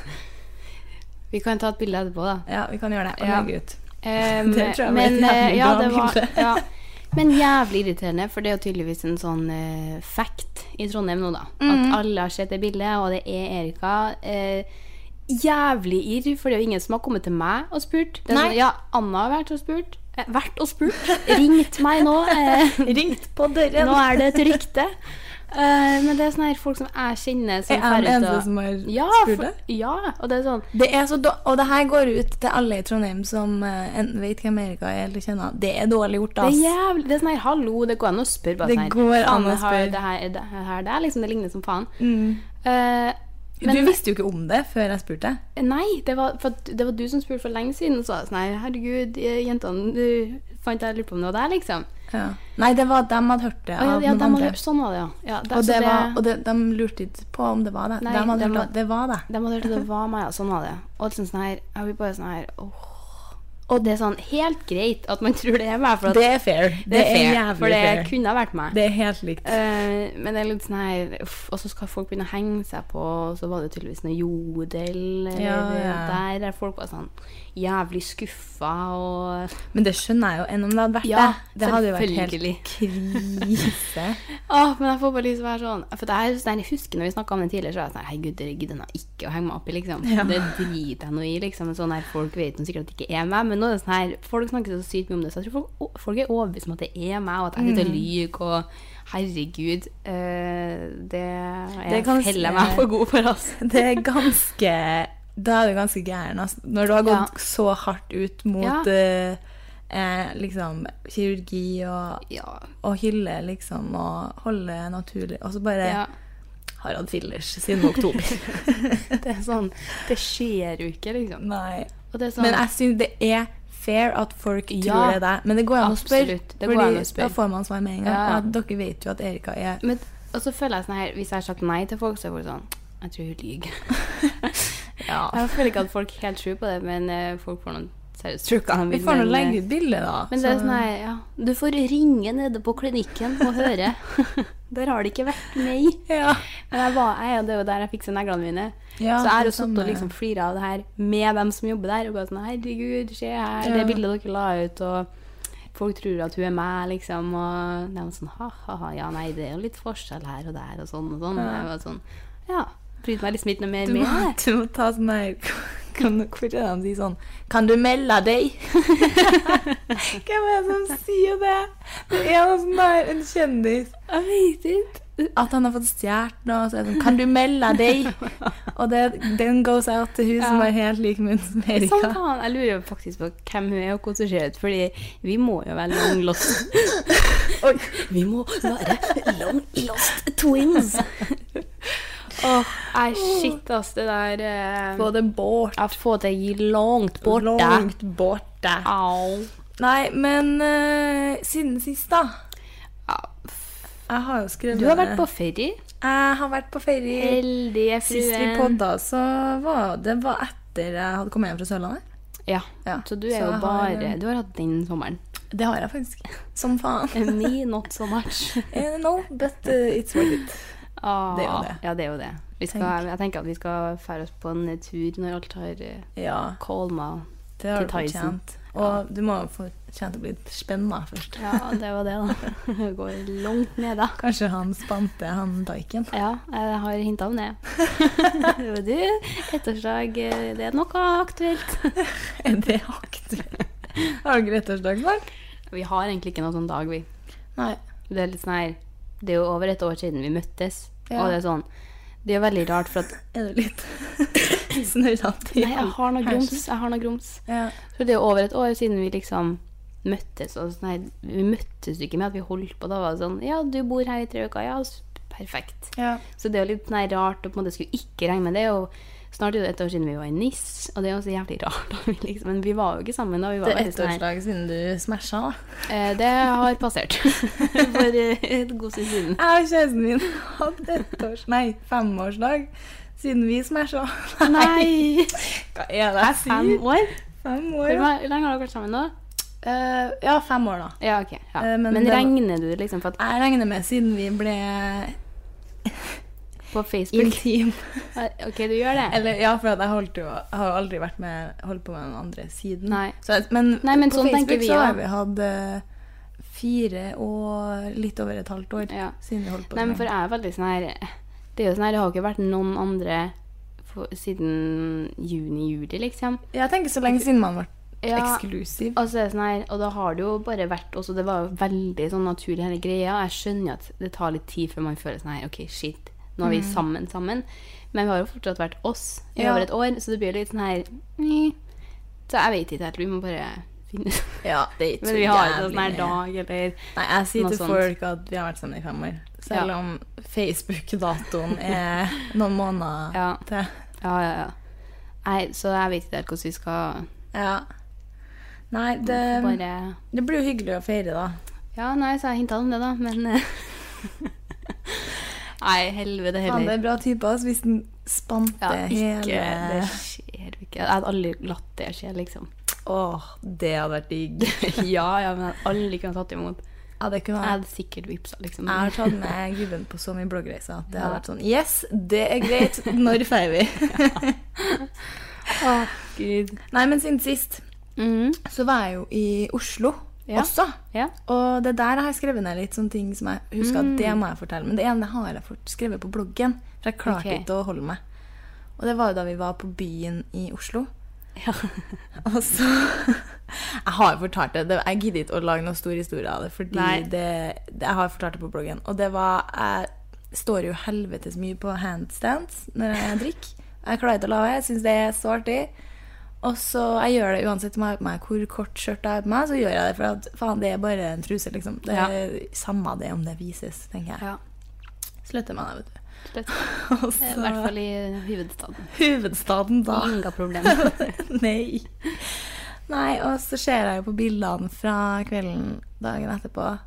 Speaker 4: Vi kan ta et bilde etterpå, da.
Speaker 5: Ja, vi kan gjøre det. Og
Speaker 4: Ja.
Speaker 5: legge ut.
Speaker 4: Em,
Speaker 5: Det tror jeg
Speaker 4: men,
Speaker 5: var
Speaker 4: eh,
Speaker 5: et jævlig
Speaker 4: ja,
Speaker 5: bra
Speaker 4: det var-
Speaker 5: bilde.
Speaker 4: ja. Men jævlig irriterende, for det er jo tydeligvis en sånn eh, fact i Trondheim nå, da.
Speaker 5: Mm.
Speaker 4: At alle har sett det bildet, og det er Erika. Eh, jævlig irr, for det er jo ingen som har kommet til meg og spurt. Det er
Speaker 5: Nei.
Speaker 4: sånn, ja, Anna har vært og spurt. Eh, vært og spurt. Ringt meg nå. Eh,
Speaker 5: Ringt på døren.
Speaker 4: Nå er det et rykte. Eh, men det er sånne her folk som jeg kjenner som
Speaker 5: Er
Speaker 4: drar
Speaker 5: jeg den
Speaker 4: ut
Speaker 5: eneste
Speaker 4: og-
Speaker 5: som har
Speaker 4: ja,
Speaker 5: spurt
Speaker 4: for-
Speaker 5: det?
Speaker 4: Ja, og det er sånn
Speaker 5: Det er så da- og det her går ut til alle i Trondheim som eh, enten vet hvem Erika er eller kjenner. Det er dårlig gjort,
Speaker 4: det er
Speaker 5: ass.
Speaker 4: jævlig, det er sånn her, hallo, det går an å spørre bare
Speaker 5: Det
Speaker 4: sånn her,
Speaker 5: går an
Speaker 4: faen,
Speaker 5: å
Speaker 4: det her-
Speaker 5: spørre. Mm.
Speaker 4: Det her, det her, det er liksom, det ligner som faen. Eh,
Speaker 5: du visste jo ikke om det før jeg spurte.
Speaker 4: nei, det var, for at det var du som spurte for lenge siden, og så var jeg sånn her, herregud, eh, jentene, du fant jeg lurer på om det var deg, liksom.
Speaker 5: Ja. Nei, det var at de hadde hørt det.
Speaker 4: Og ja,
Speaker 5: av
Speaker 4: ja,
Speaker 5: noen
Speaker 4: de hadde
Speaker 5: andre.
Speaker 4: hørt, sånn var det, ja. ja det,
Speaker 5: Og,
Speaker 4: så
Speaker 5: det var, og det, de lurte ikke på om det var det.
Speaker 4: Nei,
Speaker 5: de hadde
Speaker 4: de
Speaker 5: hørt
Speaker 4: var-
Speaker 5: at det var det.
Speaker 4: De hadde hørt at det var meg, og sånn var det. Og liksom sånn her, jeg blir bare sånn her åh. Og det er sånn helt greit at man tror det er meg, for at
Speaker 5: Det er fair. Det,
Speaker 4: det er fair,
Speaker 5: jævlig
Speaker 4: for det
Speaker 5: fair.
Speaker 4: kunne ha vært meg.
Speaker 5: Det er helt likt.
Speaker 4: Eh, men det er litt sånn her uff, Og så skal folk begynne å henge seg på, og så var det tydeligvis noe jodel eller
Speaker 5: Ja, ja.
Speaker 4: der, der folk var sånn jævlig skuffa og
Speaker 5: Men det skjønner jeg jo. Enn om det hadde vært
Speaker 4: Ja,
Speaker 5: det. Det hadde jo vært
Speaker 4: selvfølgelig.
Speaker 5: helt krise.
Speaker 4: Åh, Ah, men jeg får bare lyst til å være sånn For det er sånn, jeg husker når vi snakka om den tidligere, så var jeg sånn Herregud, det gidder jeg ikke å henge meg opp i, liksom. Det driter jeg nå i, liksom. Men Sånn her, folk vet nå sikkert at det ikke er meg, men nå er det sånn her Folk snakker så sykt mye om det, så jeg tror folk, å, folk er overbevist om at det er meg, og at jeg
Speaker 5: Mm.
Speaker 4: sitter og lyver, og Herregud, eh, det Jeg
Speaker 5: Det kan-
Speaker 4: heller meg for god for, altså.
Speaker 5: Det er ganske Da er du ganske gæren, altså. Når du har gått
Speaker 4: Ja.
Speaker 5: så hardt ut mot
Speaker 4: Ja.
Speaker 5: eh, eh, liksom kirurgi og,
Speaker 4: Ja.
Speaker 5: og hylle, liksom, og holde naturlig Og så bare
Speaker 4: ja.
Speaker 5: har hatt fillers siden oktober.
Speaker 4: Det er sånn Det skjer jo ikke, liksom.
Speaker 5: Nei.
Speaker 4: Og det er sånn
Speaker 5: Men jeg syns det er fair at folk
Speaker 4: Ja,
Speaker 5: tror det er deg. Men det går an å spørre.
Speaker 4: absolutt. Det går an å
Speaker 5: fordi
Speaker 4: spørre.
Speaker 5: Da får man svar med en
Speaker 4: Ja,
Speaker 5: gang.
Speaker 4: ja.
Speaker 5: Og at dere vet jo at Erika er
Speaker 4: Men, og så føler jeg sånn her Hvis jeg har sagt nei til folk, så er folk sånn Jeg tror hun lyver.
Speaker 5: Ja.
Speaker 4: Jeg føler ikke at folk helt tror på det, men eh, folk får noen seriøst tror ikke han
Speaker 5: Vi
Speaker 4: vil,
Speaker 5: får nå
Speaker 4: men, eh,
Speaker 5: legge ut bilde, da.
Speaker 4: Men det er sånn her, ja. Du får ringe nede på klinikken og høre. der har det ikke vært meg.
Speaker 5: Ja.
Speaker 4: Men jeg var jeg, og det var der jeg fikk seg neglene mine.
Speaker 5: Ja,
Speaker 4: så jeg har
Speaker 5: det
Speaker 4: jo sittet
Speaker 5: samme.
Speaker 4: og liksom flira av det her med dem som jobber der. Og bare sånn Herregud, se her,
Speaker 5: Ja.
Speaker 4: det bildet dere la ut, og folk tror at hun er meg, liksom. Og de var sånn ha-ha-ha, ja nei, det er jo litt forskjell her og der og sånn og sånn. Og jeg var sånn Ja. Brydde meg liksom ikke noe mer
Speaker 5: Du må,
Speaker 4: med det.
Speaker 5: du må ta sånn her kan, Hvor er det de sier sånn Kan du melde deg? Hvem er det som sier det? Det er noe sånn der, en kjendis.
Speaker 4: Jeg vet ikke.
Speaker 5: At han har fått stjålet noe. Så er det sånn, kan du melde deg? Og det, den goes out til hun som
Speaker 4: Ja.
Speaker 5: har helt lik munn som
Speaker 4: Sånn
Speaker 5: Erika.
Speaker 4: kan han. Jeg lurer jo faktisk på hvem hun er og hvordan hun ser ut, fordi vi må jo være long lost.
Speaker 5: Oi.
Speaker 4: Vi må være long lost twins. Åh, nei, shit, ass, det der eh,
Speaker 5: Få det bort.
Speaker 4: Jeg får det gi langt borte.
Speaker 5: Langt borte.
Speaker 4: Au.
Speaker 5: Nei, men eh, siden sist, da.
Speaker 4: Ja,
Speaker 5: Jeg har jo skrevet
Speaker 4: Du har vært på ferie.
Speaker 5: Jeg har vært på ferie.
Speaker 4: Heldige
Speaker 5: Sist vi
Speaker 4: fruen.
Speaker 5: podda, så var det var etter jeg hadde kommet hjem fra Sørlandet.
Speaker 4: Ja.
Speaker 5: Ja,
Speaker 4: Så du
Speaker 5: så
Speaker 4: er jo
Speaker 5: jeg har-
Speaker 4: bare Du har hatt den sommeren.
Speaker 5: Det har jeg faktisk. Som faen.
Speaker 4: Me, not so much.
Speaker 5: Eh, no, but eh, it's worth it.
Speaker 4: Ah,
Speaker 5: Det er jo det.
Speaker 4: Ja, det er jo det. Vi skal,
Speaker 5: Tenk.
Speaker 4: Jeg tenker at vi skal fære oss på en tur når alt har eh,
Speaker 5: Ja,
Speaker 4: Kolma.
Speaker 5: det har
Speaker 4: Til
Speaker 5: du
Speaker 4: Tyson.
Speaker 5: fortjent. Og du må jo fortjent å bli spenna først.
Speaker 4: Ja, det var det, da. Jeg går langt ned, da.
Speaker 5: Kanskje han spante han daiken.
Speaker 4: Ja, jeg har hinta om det. Og du, ettårsdag, eh, det er noe aktuelt.
Speaker 5: Er det aktuelt? Har dere ettårsdag snart?
Speaker 4: Vi har egentlig ikke noe sånn dag, vi.
Speaker 5: Nei.
Speaker 4: Det er litt sånn her Det er jo over et år siden vi møttes,
Speaker 5: Ja.
Speaker 4: og det er sånn Det er jo veldig rart, for at
Speaker 5: Er du litt snørrete?
Speaker 4: Nei, jeg har noe grums. Jeg har noe grums.
Speaker 5: Ja.
Speaker 4: Så det er jo over et år siden vi liksom møttes. Og sånn, her- vi møttes jo ikke med at vi holdt på. Da var det sånn Ja, du bor her i tre uker. Ja, s- perfekt.
Speaker 5: Ja.
Speaker 4: Så det er jo litt sånn her rart å på en måte skulle ikke regne med det. Og snart er det jo et år siden vi var i NIS, og det er jo så jævlig rart. da vi liksom, men vi var jo ikke sammen da. Vi var
Speaker 5: Det er
Speaker 4: veldig sånn her-
Speaker 5: ettårsdag siden du smasha, da.
Speaker 4: Eh, det har passert. For eh, et god stund siden.
Speaker 5: Jeg og kjæresten min hadde ettårs... Nei, femårsdag siden vi smasha.
Speaker 4: Nei!
Speaker 5: Hva er det jeg
Speaker 4: Fem
Speaker 5: sier?
Speaker 4: år?
Speaker 5: Fem
Speaker 4: Hvor
Speaker 5: år, ja.
Speaker 4: hvor lenge har dere vært sammen nå?
Speaker 5: Eh, ja, fem år, da.
Speaker 4: Ja, ok. Ja.
Speaker 5: Eh,
Speaker 4: Men,
Speaker 5: men det-
Speaker 4: regner du liksom for at
Speaker 5: Jeg regner med siden vi ble
Speaker 4: på Facebook
Speaker 5: intim.
Speaker 4: Ok, du gjør det?
Speaker 5: Eller, ja, for at jeg holdt jo, jeg har jo aldri vært med, holdt på med den andre siden.
Speaker 4: Nei.
Speaker 5: Så, men,
Speaker 4: Nei, men
Speaker 5: på
Speaker 4: sånn tenker
Speaker 5: Facebook
Speaker 4: vi
Speaker 5: så
Speaker 4: også.
Speaker 5: har vi hatt eh, fire og litt over et halvt år
Speaker 4: Ja.
Speaker 5: siden vi holdt på
Speaker 4: Nei, men
Speaker 5: med
Speaker 4: for jeg er veldig sånn her Det er jo sånn her, det har jo ikke vært noen andre for, siden juni-juli, liksom.
Speaker 5: Jeg tenker så lenge siden man ble
Speaker 4: Ja,
Speaker 5: eksklusiv.
Speaker 4: Og så er det sånn her, og da har det jo bare vært også, Det var jo veldig sånn naturlig, hele greia. Jeg skjønner jo at det tar litt tid før man føler sånn her OK, shit, nå er vi sammen sammen. Men vi har jo fortsatt vært oss i
Speaker 5: Mm. Ja.
Speaker 4: over et år, så det blir litt sånn her mm. Så jeg vet ikke helt. Vi må bare finne ut
Speaker 5: Ja, det er ikke
Speaker 4: Men
Speaker 5: så
Speaker 4: vi har ikke
Speaker 5: jævlig
Speaker 4: sånn her
Speaker 5: mye.
Speaker 4: dag eller
Speaker 5: Nei, jeg sier
Speaker 4: Noe
Speaker 5: til
Speaker 4: sånt.
Speaker 5: folk at vi har vært sammen i fem år. Selv
Speaker 4: Ja.
Speaker 5: om Facebook-datoen er noen måneder
Speaker 4: Ja.
Speaker 5: til.
Speaker 4: Ja, ja, ja. Nei, så jeg vet ikke helt hvordan vi skal
Speaker 5: Ja. Nei, det,
Speaker 4: bare
Speaker 5: det blir jo hyggelig å feire, da.
Speaker 4: Ja, nei, så jeg hinta om det, da, men eh, Nei, helvete
Speaker 5: Faen, det
Speaker 4: heller.
Speaker 5: er bra type, altså, hvis den spante
Speaker 4: Ja, ikke,
Speaker 5: hele
Speaker 4: det skjer jo ikke. Jeg hadde aldri latt det skje, liksom.
Speaker 5: Åh, det hadde vært digg.
Speaker 4: ja, ja, men jeg hadde aldri kunnet tatt imot.
Speaker 5: Ja, det kunne
Speaker 4: Jeg
Speaker 5: vært.
Speaker 4: hadde sikkert vippsa, liksom.
Speaker 5: Jeg har tatt med gubben på så mye bloggreiser at det hadde vært sånn Yes, det er greit. Når feirer vi?
Speaker 4: Å, gud.
Speaker 5: Nei, men siden sist
Speaker 4: Mhm.
Speaker 5: så var jeg jo i Oslo
Speaker 4: Ja.
Speaker 5: også.
Speaker 4: Ja.
Speaker 5: Og det der har jeg skrevet ned litt sånne ting som jeg husker at det
Speaker 4: Mm.
Speaker 5: må jeg fortelle. Men det ene har jeg fort- skrevet på bloggen, for jeg klarte
Speaker 4: Ok.
Speaker 5: ikke å holde meg. Og det var jo da vi var på byen i Oslo.
Speaker 4: ja.
Speaker 5: Og så Jeg har jo fortalt det. det- Jeg gidder ikke å lage noen stor historie av det,
Speaker 4: Nei.
Speaker 5: fordi det, det, jeg har fortalt det på bloggen. Og det var Jeg står jo helvetes mye på handstands når jeg drikker. Jeg klarer ikke å la være. Jeg syns det er så artig. Og så Jeg gjør det uansett om jeg har på meg hvor kort skjørt jeg har på meg, så gjør jeg det for at faen, det er bare en truse, liksom. Det er samme det om det vises, tenker jeg.
Speaker 4: ja.
Speaker 5: Slutter med det, vet du.
Speaker 4: Slett.
Speaker 5: Og
Speaker 4: I
Speaker 5: så-
Speaker 4: hvert fall i hovedstaden.
Speaker 5: hovedstaden, da.
Speaker 4: Inga problem.
Speaker 5: Nei. Nei, og så ser jeg jo på bildene fra kvelden dagen etterpå.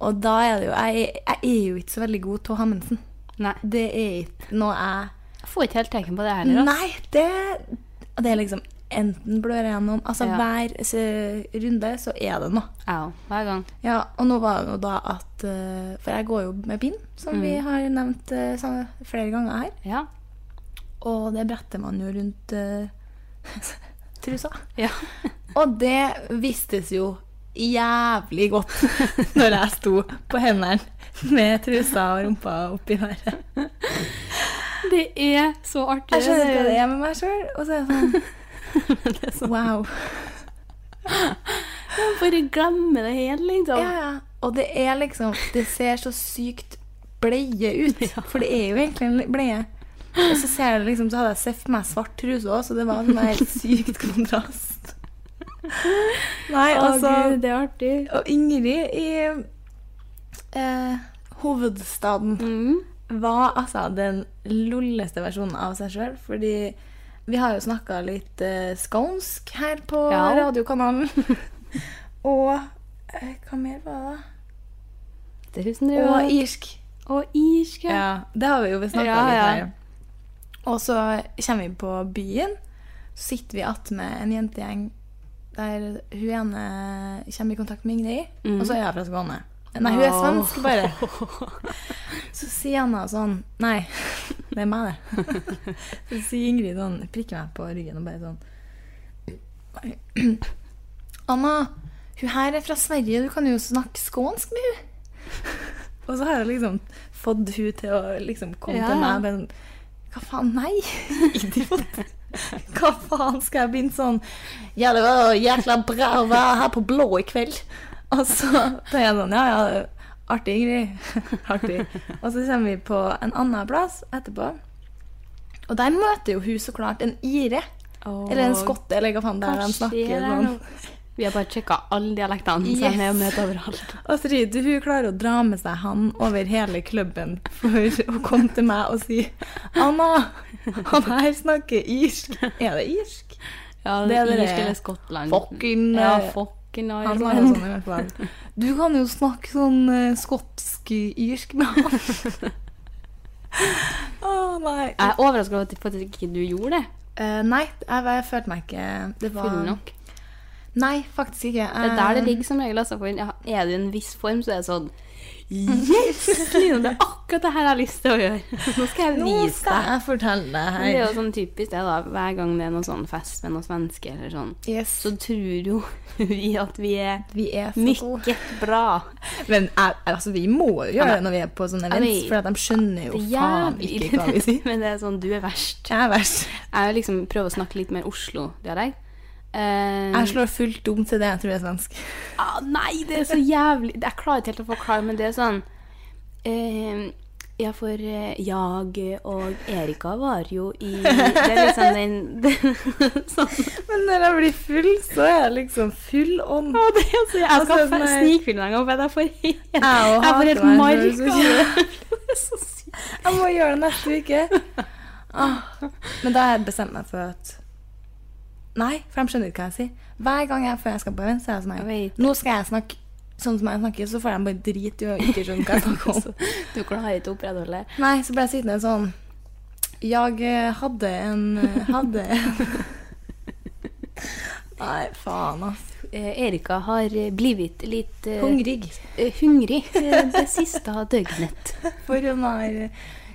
Speaker 5: Og da er det jo Jeg, jeg er jo ikke så veldig god til å ha mensen.
Speaker 4: Nei.
Speaker 5: Det er ikke noe jeg
Speaker 4: Jeg får ikke helt teken på det heller. ass.
Speaker 5: Nei, det Og det er liksom enten blør jeg gjennom Altså
Speaker 4: Ja.
Speaker 5: hver eh, runde så er det noe.
Speaker 4: Au, hver gang.
Speaker 5: Ja, og nå var det jo da at eh, For jeg går jo med bind, som vi har nevnt eh, sam- flere ganger her.
Speaker 4: Ja.
Speaker 5: Og det bretter man jo rundt eh, trusa.
Speaker 4: ja.
Speaker 5: Og det vistes jo jævlig godt når jeg sto på hendene med trusa og rumpa oppi været.
Speaker 4: Det er så artig.
Speaker 5: Jeg skjønner ikke hva det er med meg sjøl. Og så er jeg sånn Wow.
Speaker 4: Jeg bare glemmer det helt, liksom.
Speaker 5: Ja, ja. Og det er liksom Det ser så sykt bleie ut. For det er jo egentlig en bleie. Og så ser jeg det liksom, så hadde jeg sett på meg svart truse òg, så det var en sånn helt sykt kontrast. Nei,
Speaker 4: Å,
Speaker 5: altså
Speaker 4: Gud, det er artig.
Speaker 5: Og Ingrid i eh, hovedstaden
Speaker 4: Mm.
Speaker 5: var altså den lolleste versjonen av seg sjøl. Fordi vi har jo snakka litt eh, skånsk her på
Speaker 4: Ja.
Speaker 5: radiokanalen. og eh, hva mer var det?
Speaker 4: Det er hun som driver
Speaker 5: Og irsk.
Speaker 4: Og irsk, ja.
Speaker 5: Ja, det har vi jo snakka
Speaker 4: Ja,
Speaker 5: litt
Speaker 4: ja.
Speaker 5: her. Og så kommer vi på byen. Så sitter vi attmed en jentegjeng der hun ene kommer i kontakt med Ingrid, og så er jeg fra Skåne. Nei, hun er
Speaker 4: Åh.
Speaker 5: svensk, bare. Så sier Anna sånn Nei, det er meg, det. Så sier Ingrid sånn, prikker meg på ryggen og bare sånn Anna, hun her er fra Sverige, du kan jo snakke skånsk med hun. Og så har jeg liksom fått hun til å liksom komme
Speaker 4: Ja, ja.
Speaker 5: til meg med sånn Hva faen, nei! Idiot! Hva faen skal jeg begynne sånn Ja, det var jækla bra å være her på blå i kveld. Og så tar jeg sånn Ja, ja, artig, Ingrid. Artig. Og så kommer vi på en annen plass etterpå. Og der møter jo hun så klart en ire.
Speaker 4: Åh.
Speaker 5: Eller en skotte, eller hva faen det
Speaker 4: Hva
Speaker 5: er de
Speaker 4: skjer
Speaker 5: snakker
Speaker 4: her
Speaker 5: sånn.
Speaker 4: nå? Vi har bare sjekka alle dialektene yes. som
Speaker 5: Yes.
Speaker 4: er med overalt.
Speaker 5: Astrid, hun klarer å dra med seg han over hele klubben for å komme til meg og si Anna, han her snakker irsk. Er det irsk?
Speaker 4: Ja,
Speaker 5: Det
Speaker 4: det
Speaker 5: er
Speaker 4: er
Speaker 5: det.
Speaker 4: irsk eller Skottland.
Speaker 5: Fucking,
Speaker 4: Ja,
Speaker 5: eh,
Speaker 4: fucking altså.
Speaker 5: Han
Speaker 4: Ireland.
Speaker 5: snakker sånn i hvert fall. Du kan jo snakke sånn eh, skotsk-irsk med han. Å nei.
Speaker 4: Jeg er overrasket over at faktisk ikke du gjorde det.
Speaker 5: Eh, nei, jeg, jeg følte meg ikke Det var Eh.
Speaker 4: Full nok.
Speaker 5: Nei, faktisk ikke.
Speaker 4: Det er der det ligger som regel. Altså, for ja, er du i en viss form, så er det sånn Yes! Line, det er akkurat det her jeg har lyst til å gjøre. Nå skal jeg
Speaker 5: Nå
Speaker 4: vise
Speaker 5: skal
Speaker 4: deg.
Speaker 5: jeg fortelle deg
Speaker 4: Men Det er jo sånn typisk det, da. Hver gang det er noen sånn fest med noen svensker eller sånn,
Speaker 5: Yes,
Speaker 4: så tror jo vi at vi er
Speaker 5: vi er så gode.
Speaker 4: mykket bra.
Speaker 5: Men jeg, altså, vi må jo gjøre det når vi er på sånne
Speaker 4: jeg
Speaker 5: events,
Speaker 4: vet-
Speaker 5: for at de skjønner jo
Speaker 4: Det er
Speaker 5: faen
Speaker 4: jævlig
Speaker 5: ikke hva vi sier.
Speaker 4: men det er sånn du er verst.
Speaker 5: Jeg er verst.
Speaker 4: Jeg vil liksom prøver å snakke litt mer Oslo-dialekt.
Speaker 5: Jeg
Speaker 4: Uh,
Speaker 5: slår fullt dum til det jeg tror jeg er svensk.
Speaker 4: ah, nei, det er så jævlig Jeg klarer ikke helt å forklare, men det er sånn eh, Ja, for eh, jeg og Erika var jo i Det er liksom den, den sånn.
Speaker 5: Men når jeg blir full, så er jeg liksom full ånd.
Speaker 4: Å, det er så Jeg skal
Speaker 5: Altså,
Speaker 4: fe-
Speaker 5: nei.
Speaker 4: snikfilme deg en gang, for jeg får helt, sånn, eh, jeg
Speaker 5: og
Speaker 4: får helt
Speaker 5: hater meg
Speaker 4: mark.
Speaker 5: selv, så
Speaker 4: av det. Det er så sykt.
Speaker 5: Jeg må gjøre det neste uke. Ah, men da har jeg bestemt meg for at Nei, for de skjønner ikke hva jeg sier. Hver gang jeg, før jeg skal på event, så er jeg sånn her,
Speaker 4: Wait.
Speaker 5: Nå skal jeg snakke sånn som jeg snakker, så får de bare drit i å ikke skjønne hva jeg snakker om.
Speaker 4: Du klarer ikke å opprettholde det.
Speaker 5: Nei, så ble jeg sittende sånn Jeg eh, hadde en eh, Hadde en Nei, faen, ass.
Speaker 4: Eh, Erika har eh, blitt litt eh,
Speaker 5: Hungrig.
Speaker 4: eh, hungrig eh, det siste døgnet.
Speaker 5: For hun har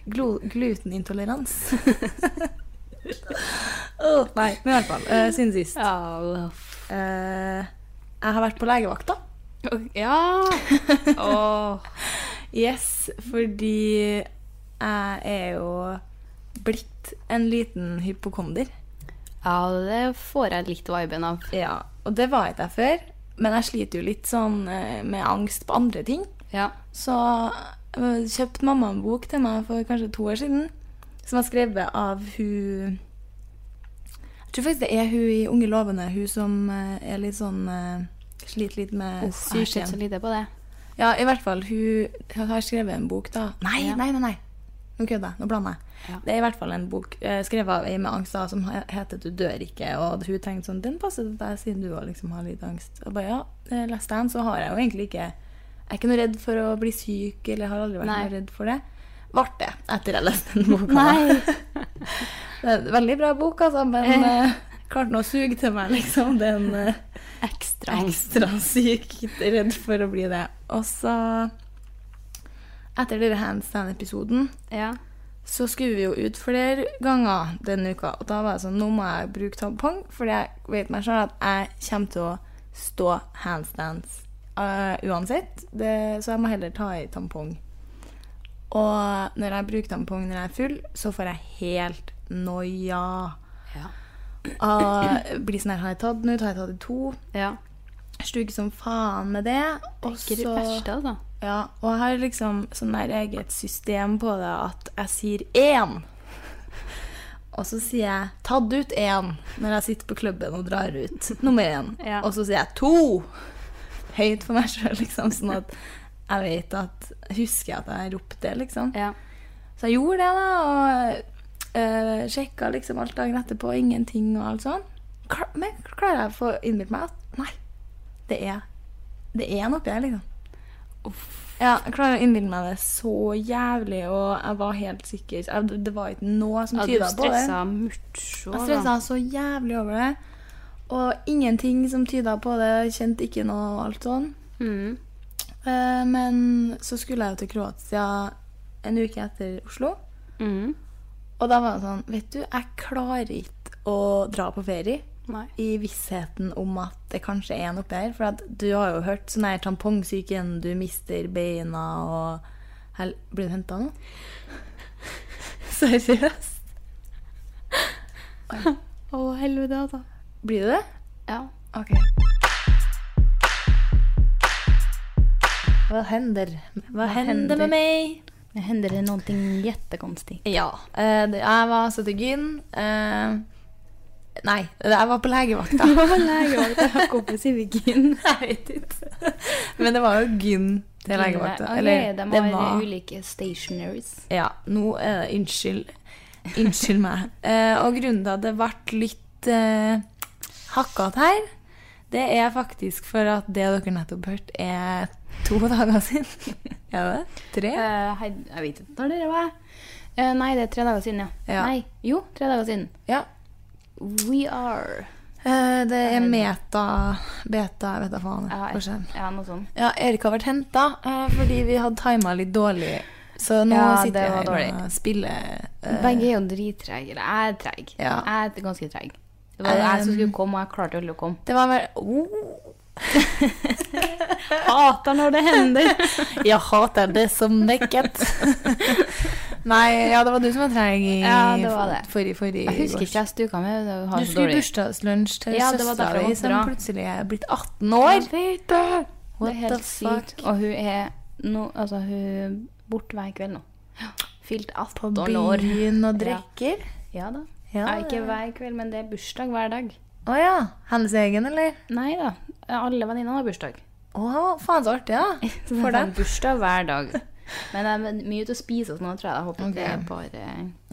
Speaker 5: glo glutenintolerans. Åh, nei, men i hvert fall. eh, siden sist.
Speaker 4: Ja,
Speaker 5: Eh, jeg har vært på legevakta.
Speaker 4: ja. Åh.
Speaker 5: Yes, fordi jeg er jo blitt en liten hypokonder.
Speaker 4: ja, det får jeg litt viben av.
Speaker 5: Ja, og det var ikke jeg før. Men jeg sliter jo litt sånn eh, med angst på andre ting.
Speaker 4: Ja.
Speaker 5: Så øh, kjøpte mamma en bok til meg for kanskje to år siden, som var skrevet av hun Jeg tror faktisk det er hun i Unge lovende, hun som øh, er litt sånn øh, Sliter litt med
Speaker 4: Jeg har sett så
Speaker 5: psyken.
Speaker 4: lite på det.
Speaker 5: Ja, i hvert fall. Hun har skrevet en bok, da. Nei,
Speaker 4: Ja.
Speaker 5: nei, nei. nei. Nå kødder jeg. Nå blander jeg. Det er i hvert fall en bok eh, skrevet av ei med angst da, som he- heter 'Du dør ikke'. Og hun tenkte sånn Den passer til deg, siden du òg liksom har litt angst. Og bare ja, eh, leste jeg den, så har jeg jo egentlig ikke Jeg er ikke noe redd for å bli syk, eller har aldri vært
Speaker 4: Nei.
Speaker 5: noe redd for det. Ble det etter jeg leste den boka.
Speaker 4: Nei.
Speaker 5: det er en veldig bra bok, altså, men eh, klarte nå å suge til meg, liksom, den eh,
Speaker 4: Ekstra
Speaker 5: ekstra sykt redd for å bli det. Og så Etter denne handstand-episoden
Speaker 4: Ja.
Speaker 5: så skulle vi jo ut flere ganger denne uka. Og da var jeg sånn Nå må jeg bruke tampong, fordi jeg vet meg sjøl at jeg kommer til å stå handstands eh, uansett. Det, så jeg må heller ta i tampong. Og når jeg bruker tampong når jeg er full, så får jeg helt noia.
Speaker 4: Ja.
Speaker 5: Og blir sånn her Har jeg tatt den ut? Har jeg tatt i to?
Speaker 4: ja.
Speaker 5: Stugg som faen med det. Og
Speaker 4: Ikke det verste,
Speaker 5: så
Speaker 4: altså.
Speaker 5: ja, Og jeg har liksom sånn der eget system på det at jeg sier én. Og så sier jeg 'tatt ut én' når jeg sitter på klubben og drar ut nummer én.
Speaker 4: Ja.
Speaker 5: Og så sier jeg to høyt for meg sjøl, liksom, sånn at jeg vet at Husker jeg at jeg ropte det, liksom.
Speaker 4: Ja.
Speaker 5: Så jeg gjorde det, da, og øh, sjekka liksom alt dagen etterpå, ingenting og alt sånn. Klar, men klarer jeg å få innbilt meg at nei, det er, det er noe oppi her, liksom. Ja, jeg klarer å innbille meg det så jævlig, og jeg var helt sikker. Jeg, det var ikke noe som
Speaker 4: ja du
Speaker 5: tyda på det.
Speaker 4: stressa mucho.
Speaker 5: Jeg
Speaker 4: da.
Speaker 5: stressa så jævlig over det. Og ingenting som tyda på det. Jeg Kjente ikke noe og alt sånn.
Speaker 4: Mm.
Speaker 5: Eh, men så skulle jeg jo til Kroatia en uke etter Oslo.
Speaker 4: Mm.
Speaker 5: Og da var det sånn Vet du, jeg klarer ikke å dra på ferie
Speaker 4: Nei.
Speaker 5: i vissheten om at det kanskje er noe oppi her. For at du har jo hørt sånn her tampongsyken, du mister beina og Hel Blir du henta nå? Seriøst?
Speaker 4: Å, helvete, altså.
Speaker 5: Blir du det?
Speaker 4: Ja.
Speaker 5: Ok. Hva hender? Hva hender med meg?
Speaker 3: Det händer det någonting jättekonstigt.
Speaker 5: Ja. eh, det, jeg var så til gyn. eh, nei, jeg var på legevakta.
Speaker 3: Kompis i Vigin.
Speaker 5: Jeg vet ikke. Men det var jo gyn til legevakta. Eller,
Speaker 4: de
Speaker 5: det
Speaker 4: har
Speaker 5: var
Speaker 4: ulike stationaries.
Speaker 5: Ja, nå er det Unnskyld. Unnskyld meg. Eh, og grunnen til at det ble litt uh, hakkete her, det er faktisk for at det dere nettopp hørte, er to dager siden. er det? Tre?
Speaker 4: Eh, hei, jeg vet ikke når dere var. Eh, nei, det er tre dager siden, ja.
Speaker 5: Ja.
Speaker 4: Nei, jo, tre dager siden.
Speaker 5: Ja.
Speaker 4: We are
Speaker 5: Eh, det er meta Beta, jeg vet da faen.
Speaker 4: Ja,
Speaker 5: Kanskje.
Speaker 4: ja noe sånt.
Speaker 5: Ja, Erik har vært henta eh, fordi vi hadde tima litt dårlig. Så nå
Speaker 4: Ja, det
Speaker 5: sitter jeg
Speaker 4: var
Speaker 5: her
Speaker 4: dårlig.
Speaker 5: og spiller eh,
Speaker 4: Begge er jo drittrege. Eller jeg er treg.
Speaker 5: Ja. Um.
Speaker 4: Jeg er ganske treg. Det var jo jeg som skulle komme, og jeg klarte aldri å komme.
Speaker 5: Det var vel oh.
Speaker 4: Hater når det hender!
Speaker 5: Jeg hater det som nekket. Nei, ja, det var du som var treig i
Speaker 4: Ja, det var det.
Speaker 5: forrige forrige
Speaker 4: Jeg husker ikke jeg stuka med. det var
Speaker 5: Du
Speaker 4: så
Speaker 5: skulle
Speaker 4: dårlig.
Speaker 5: bursdagslunsj til
Speaker 4: Ja, det var
Speaker 5: søstera
Speaker 4: derfor jeg
Speaker 5: di,
Speaker 4: måtte
Speaker 5: som
Speaker 4: dra.
Speaker 5: plutselig er blitt 18 år.
Speaker 4: Det
Speaker 5: What
Speaker 4: er
Speaker 5: the
Speaker 4: helt
Speaker 5: fuck?
Speaker 4: sykt. Og hun er no, altså, hun borte hver kveld nå. Fylt 18 år.
Speaker 5: Byen og drikker.
Speaker 4: Ja da.
Speaker 5: Ja,
Speaker 4: Ja, ikke hver kveld, men det er bursdag hver dag.
Speaker 5: Å ja. Hennes egen, eller?
Speaker 4: Nei da. Alle venninnene har bursdag.
Speaker 5: Å, faen så artig, ja.
Speaker 4: Så det
Speaker 5: For
Speaker 4: er sånn
Speaker 5: dem.
Speaker 4: bursdag hver dag. Men det er mye ute å spise og sånn, og tror jeg. Jeg håper det er bare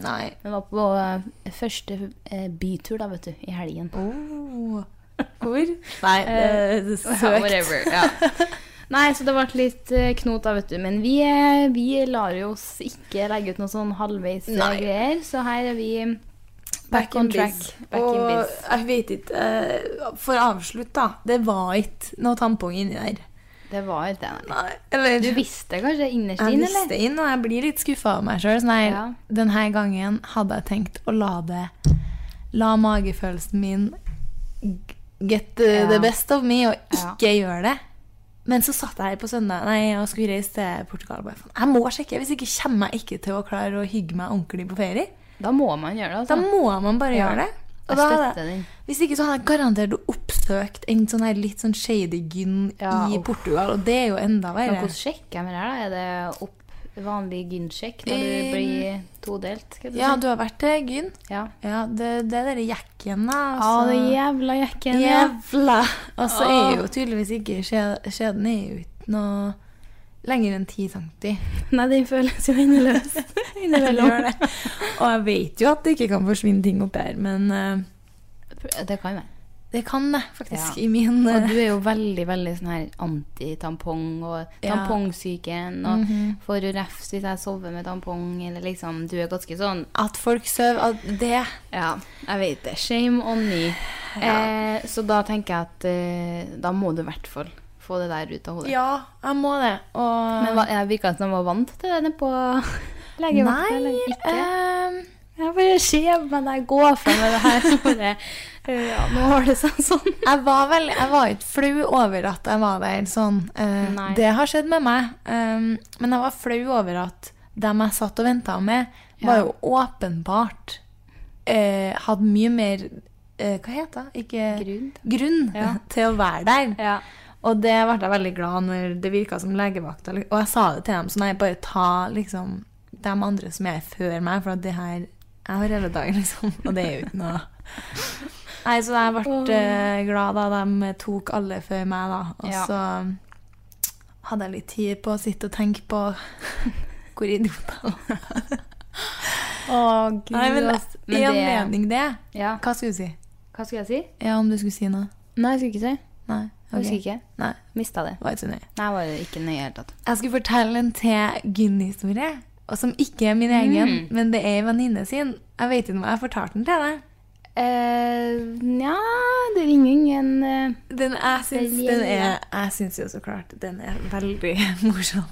Speaker 5: Nei.
Speaker 4: Vi var på eh, første eh, bytur, da, vet du, i helgen.
Speaker 5: Oh. Hvor? Nei, det er
Speaker 4: Ja,
Speaker 5: søkt.
Speaker 4: Eh, whatever, ja. Nei, så det ble litt eh, knot da, vet du. Men vi, eh, vi lar jo oss ikke legge ut noe sånn halvveis eh,
Speaker 5: Nei.
Speaker 4: greier, så her er vi back on track. Back
Speaker 5: og
Speaker 4: in biz.
Speaker 5: jeg vet ikke eh, For å avslutte, da. Det var ikke noe tampong inni der.
Speaker 4: Det var det. nei.
Speaker 5: Nei, eller
Speaker 4: Du visste kanskje innerst
Speaker 5: Jeg
Speaker 4: inne,
Speaker 5: visste
Speaker 4: eller?
Speaker 5: inn, og jeg blir litt skuffa over meg Sånn sjøl.
Speaker 4: Ja.
Speaker 5: Denne gangen hadde jeg tenkt å la det La magefølelsen min g- get the,
Speaker 4: Ja.
Speaker 5: the best of me, og
Speaker 4: Ja.
Speaker 5: ikke gjøre det. Men så satt jeg her på søndag Nei, og skulle reise til Portugal. og Bare, faen, jeg må sjekke, Hvis ikke kommer jeg ikke til å klare å hygge meg ordentlig på ferie.
Speaker 4: Da må man gjøre det, altså.
Speaker 5: Da må man bare
Speaker 4: Ja.
Speaker 5: gjøre det.
Speaker 4: Jeg
Speaker 5: Og da hadde
Speaker 4: støtter den.
Speaker 5: Hvis ikke så hadde jeg garantert oppsøkt en sånn her litt sånn shady gyn
Speaker 4: Ja,
Speaker 5: i
Speaker 4: uff.
Speaker 5: Portugal, og det er jo enda
Speaker 4: Men
Speaker 5: verre.
Speaker 4: hvordan sjekker man det her, da? Er det opp vanlig gynsjekk når du
Speaker 5: Um,
Speaker 4: blir todelt? Skal du
Speaker 5: Ja,
Speaker 4: si?
Speaker 5: du har vært til gyn.
Speaker 4: Ja.
Speaker 5: Ja, det, det er dere jekken, da.
Speaker 4: Å,
Speaker 5: altså.
Speaker 4: det jævla jekken. ja.
Speaker 5: Jævla! Og så er jo tydeligvis ikke skje- skjeden er jo ikke noe lenger enn 10 cm.
Speaker 6: Nei, den føles jo endeløs. Innimellom.
Speaker 5: Og jeg vet jo at det ikke kan forsvinne ting oppi her, men eh,
Speaker 4: Det kan jeg.
Speaker 5: det kan det faktisk
Speaker 4: Ja.
Speaker 5: i min eh,
Speaker 4: Og du er jo veldig veldig sånn her antitampong og
Speaker 5: Ja.
Speaker 4: tampongsyken. Og får jo refs hvis jeg sover med tampong, eller liksom Du er ganske sånn
Speaker 5: At folk sover at det
Speaker 4: Ja, jeg vet det. Shame on me. Eh, så da tenker jeg at eh, da må du i hvert fall få det der ut av hodet.
Speaker 5: Ja, jeg må det. Og
Speaker 4: Men hva, jeg virka som de var vant til det nede på legevakta.
Speaker 5: Nei,
Speaker 4: eller ikke.
Speaker 5: eh,
Speaker 4: Jeg bare ser på meg når jeg går fra med det her. så Bare, eh, ja, nå har det seg sånn.
Speaker 5: jeg var vel Jeg var ikke flau over at jeg var der sånn. eh,
Speaker 4: Nei.
Speaker 5: det har skjedd med meg. eh, men jeg var flau over at dem jeg satt og venta med, var jo åpenbart eh, Hadde mye mer eh, Hva heter det? Ikke
Speaker 4: Grunn.
Speaker 5: grunn
Speaker 4: Ja.
Speaker 5: til å være der.
Speaker 4: Ja.
Speaker 5: Og det ble jeg veldig glad når det virka som legevakta. Og jeg sa det til dem, så nei, bare ta liksom de andre som er før meg, for at det her Jeg har hele dagen, liksom. Og det er jo ikke noe Nei, så jeg ble eh, glad da de tok alle før meg, da. Og
Speaker 4: Ja.
Speaker 5: så hadde jeg litt tid på å sitte og tenke på hvor idioter
Speaker 4: Å, gud.
Speaker 5: Nei, men,
Speaker 4: ass.
Speaker 5: i
Speaker 4: det-
Speaker 5: anledning det
Speaker 4: Ja.
Speaker 5: Hva skulle du si?
Speaker 4: Hva skulle jeg si?
Speaker 5: Ja, om du skulle si noe?
Speaker 4: Nei, jeg skulle ikke si. Jeg
Speaker 5: Nei?
Speaker 4: husker
Speaker 5: ok.
Speaker 4: ikke.
Speaker 5: Nei,
Speaker 4: Mista det.
Speaker 5: var ikke så nøye.
Speaker 4: Nei, jeg var jo ikke nøye i det hele tatt.
Speaker 5: Jeg skulle fortelle en til Gunn-historie, og som ikke er min egen,
Speaker 4: Mm.
Speaker 5: men det er en venninne sin. Jeg vet ikke om jeg har fortalt den til deg.
Speaker 4: Eh, Nja, det ringer ingen eh,
Speaker 5: Den, jeg, syns,
Speaker 4: Den
Speaker 5: den
Speaker 4: gjelder.
Speaker 5: er, jeg syns jo så klart den er veldig morsom.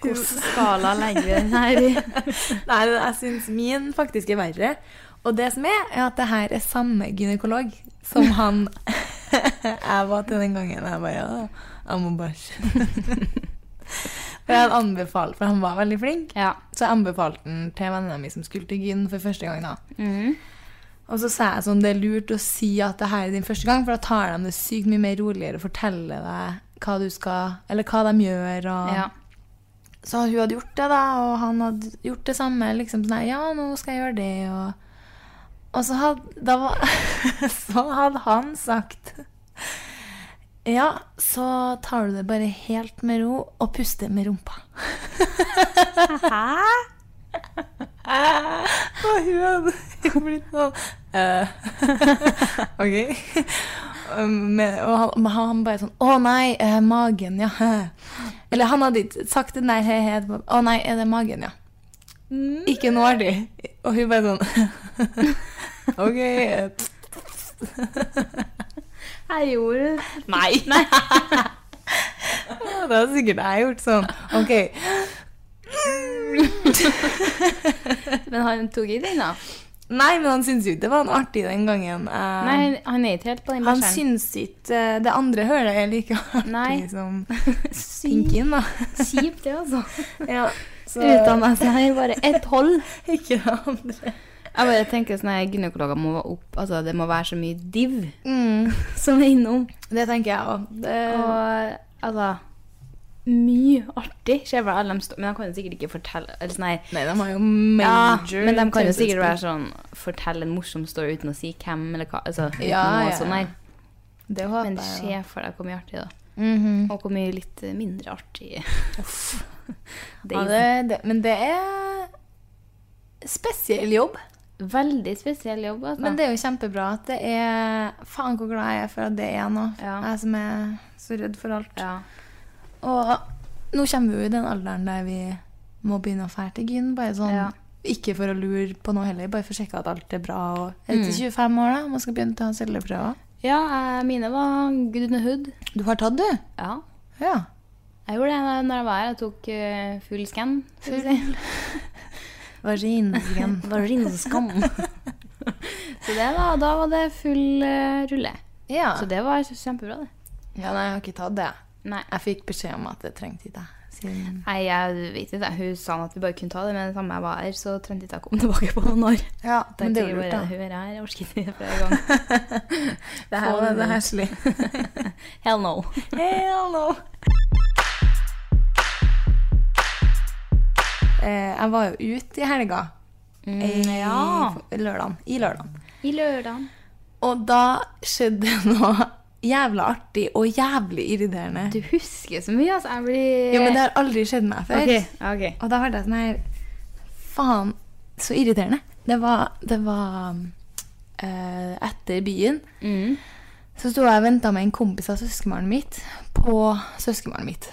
Speaker 4: Hvilken skala legger vi den her i?
Speaker 5: Nei, men jeg syns min faktisk er verre. Og det som er, er at det her er samme gynekolog som han jeg var til den gangen. Jeg bare «Å, Jeg må bæsje. Og jeg hadde anbefalt, for han var veldig flink.
Speaker 4: Ja.
Speaker 5: Så jeg anbefalte den til venninna mi som skulle til gyn for første gang. da. Og så sa jeg sånn, det er lurt å si at det her er din første gang, for da tar de det sykt mye mer roligere og forteller deg hva du skal, eller hva de gjør. og...
Speaker 4: ja.
Speaker 5: Så hun hadde gjort det, da, og han hadde gjort det samme. liksom sånn, her, Ja, nå skal jeg gjøre det. Og, og så, hadde, da var, så hadde han sagt Ja, så tar du det bare helt med ro og puster med rumpa.
Speaker 4: Ah.
Speaker 5: Hæ? Og hun hadde jo blitt sånn «Eh, OK. Um, Men, og han, men han bare sånn Å nei, eh, magen, ja. Eller han hadde ikke sagt det. Nei, he, he, det var- å nei, er det magen, ja.
Speaker 4: Mm.
Speaker 5: Ikke nå er de. Og hun bare sånn OK. eh,
Speaker 4: Jeg gjorde det.
Speaker 5: Nei. det har sikkert jeg gjort sånn. OK.
Speaker 4: Men han tok i den, da.
Speaker 5: Nei, men han syntes jo ikke det var noe artig den gangen. Eh,
Speaker 4: Nei, han- han er ikke helt på den
Speaker 5: han
Speaker 4: bæsjeren.
Speaker 5: syns ikke eh, det andre hølet er like artig
Speaker 4: Nei.
Speaker 5: som pinkyen, da.
Speaker 4: Kjipt, det, altså.
Speaker 5: Ja, så,
Speaker 4: Utdanna seg her, bare ett hold.
Speaker 5: ikke det andre.
Speaker 4: Jeg bare tenker sånn her, Gynekologer må være opp, altså det må være så mye div
Speaker 5: Mm.
Speaker 4: som er innom.
Speaker 5: Det tenker jeg òg.
Speaker 4: Og altså Mye artig. Ser vel alle de stå- Men de kan jo sikkert ikke fortelle eller sånn her,
Speaker 5: Nei, de har jo
Speaker 4: ja,
Speaker 5: major
Speaker 4: Men de kan jo sikkert være
Speaker 5: taushetsplikt.
Speaker 4: sånn Fortelle en morsom story uten å si hvem eller hva. Altså, uten
Speaker 5: Ja,
Speaker 4: noe
Speaker 5: ja,
Speaker 4: sånn
Speaker 5: ja.
Speaker 4: her.
Speaker 5: Det håper
Speaker 4: Men
Speaker 5: jeg.
Speaker 4: se for deg hvor mye artig, da.
Speaker 5: sånn. Mhm.
Speaker 4: Og hvor mye litt eh, mindre artig det
Speaker 5: Ja,
Speaker 4: er
Speaker 5: det, det, men det er spesiell jobb.
Speaker 4: veldig spesiell jobb, altså.
Speaker 5: Men det er jo kjempebra at det er Faen, hvor glad jeg er for at det er noe.
Speaker 4: Ja.
Speaker 5: Jeg som er så redd for alt.
Speaker 4: ja.
Speaker 5: Og nå kommer vi jo i den alderen der vi må begynne å fære til gyn. Bare sånn,
Speaker 4: Ja.
Speaker 5: Ikke for å lure på noe heller, bare for å sjekke at alt er bra. Og er det til 25 år, da? Man skal begynne å ta celleprøver.
Speaker 4: ja, eh, mine var Gudnehud.
Speaker 5: Du har tatt, du?
Speaker 4: Ja.
Speaker 5: Ja.
Speaker 4: Jeg gjorde det da- når jeg var her. Jeg tok eh, full skann.
Speaker 5: Vaginscan.
Speaker 4: Varinskann. så det var, da var det full eh, rulle.
Speaker 5: ja.
Speaker 4: Så det var kjempebra, det.
Speaker 5: ja. Nei, jeg har ikke tatt det.
Speaker 4: Nei.
Speaker 5: Jeg fikk beskjed om at det trengte ikke jeg. Siden
Speaker 4: Nei, jeg vet ikke. Hun sa at vi bare kunne ta det, men det samme jeg var her, så trengte ikke jeg komme tilbake på noen år.
Speaker 5: ja,
Speaker 4: Tenkte jeg bare, Hun er her, jeg orker ikke det flere ganger.
Speaker 5: Det her
Speaker 4: Få
Speaker 5: var
Speaker 4: det
Speaker 5: det
Speaker 4: ut.
Speaker 5: heslig.
Speaker 4: Hell no.
Speaker 5: Hell no! Eh, jeg var jo ute i helga. Eh, I-
Speaker 4: Mm, ja.
Speaker 5: f- Lørdagen. I lørdagen.
Speaker 4: I lørdagen.
Speaker 5: Og da skjedde det noe jævla artig og jævlig irriterende.
Speaker 4: Du husker så mye, altså. Jeg blir
Speaker 5: Ja, men det har aldri skjedd meg før.
Speaker 4: Ok, ok.
Speaker 5: Og da var det sånn her Faen, så irriterende. Det var, det var eh, etter byen.
Speaker 4: Mm.
Speaker 5: Så sto jeg og venta med en kompis av søskenbarnet mitt på søskenbarnet mitt.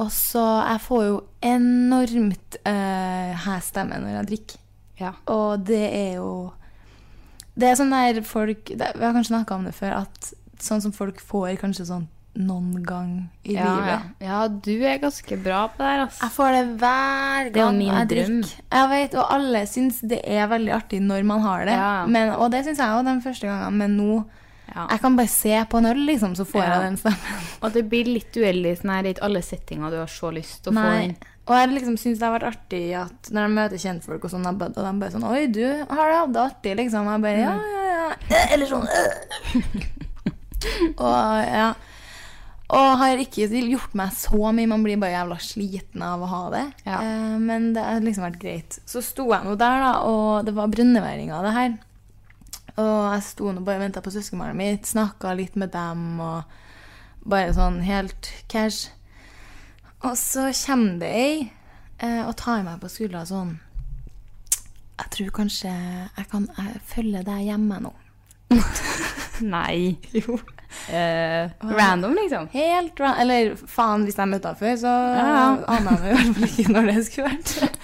Speaker 5: Og så Jeg får jo enormt uh, hes stemme når jeg drikker.
Speaker 4: Ja.
Speaker 5: Og det er jo Det er sånn der folk det, Vi har kanskje snakka om det før, at sånn som folk får kanskje sånn noen gang i
Speaker 4: ja,
Speaker 5: livet.
Speaker 4: ja. ja, du er ganske bra på det her, altså.
Speaker 5: Jeg får det hver
Speaker 4: er jo
Speaker 5: gang
Speaker 4: min
Speaker 5: jeg
Speaker 4: drøm.
Speaker 5: drikker. Jeg vet, og alle syns det er veldig artig når man har det.
Speaker 4: Ja.
Speaker 5: Men, og det syns jeg òg de første gangene, men nå
Speaker 4: Ja.
Speaker 5: Jeg kan bare se på en øl, liksom, så får
Speaker 4: Ja.
Speaker 5: jeg den stemmen.
Speaker 4: Og det blir litt duell i sånn her, i alle settinger du har så lyst til å få
Speaker 5: Nei.
Speaker 4: inn.
Speaker 5: Og jeg liksom syns det har vært artig at når jeg møter kjentfolk, og sånn, og de bare sånn Oi, du har det hatt det artig, liksom. Jeg bare Ja, ja, ja. Eh, Eller sånn eh. Og ja. Og har ikke gjort meg så mye. Man blir bare jævla sliten av å ha det.
Speaker 4: Ja.
Speaker 5: Eh, men det har liksom vært greit. Så sto jeg nå der, da, og det var brønneværinga, det her. Og jeg sto nå bare og venta på søskenbarnet mitt, snakka litt med dem og bare sånn helt cash. Og så kommer det ei eh, og tar meg på skuldra sånn Jeg tror kanskje jeg kan jeg følge deg hjemme nå.
Speaker 4: Nei. Eh. Jo. random, liksom.
Speaker 5: Helt ra Eller faen, hvis jeg møtte henne før, så aner jeg nå i hvert fall ikke når det skulle vært.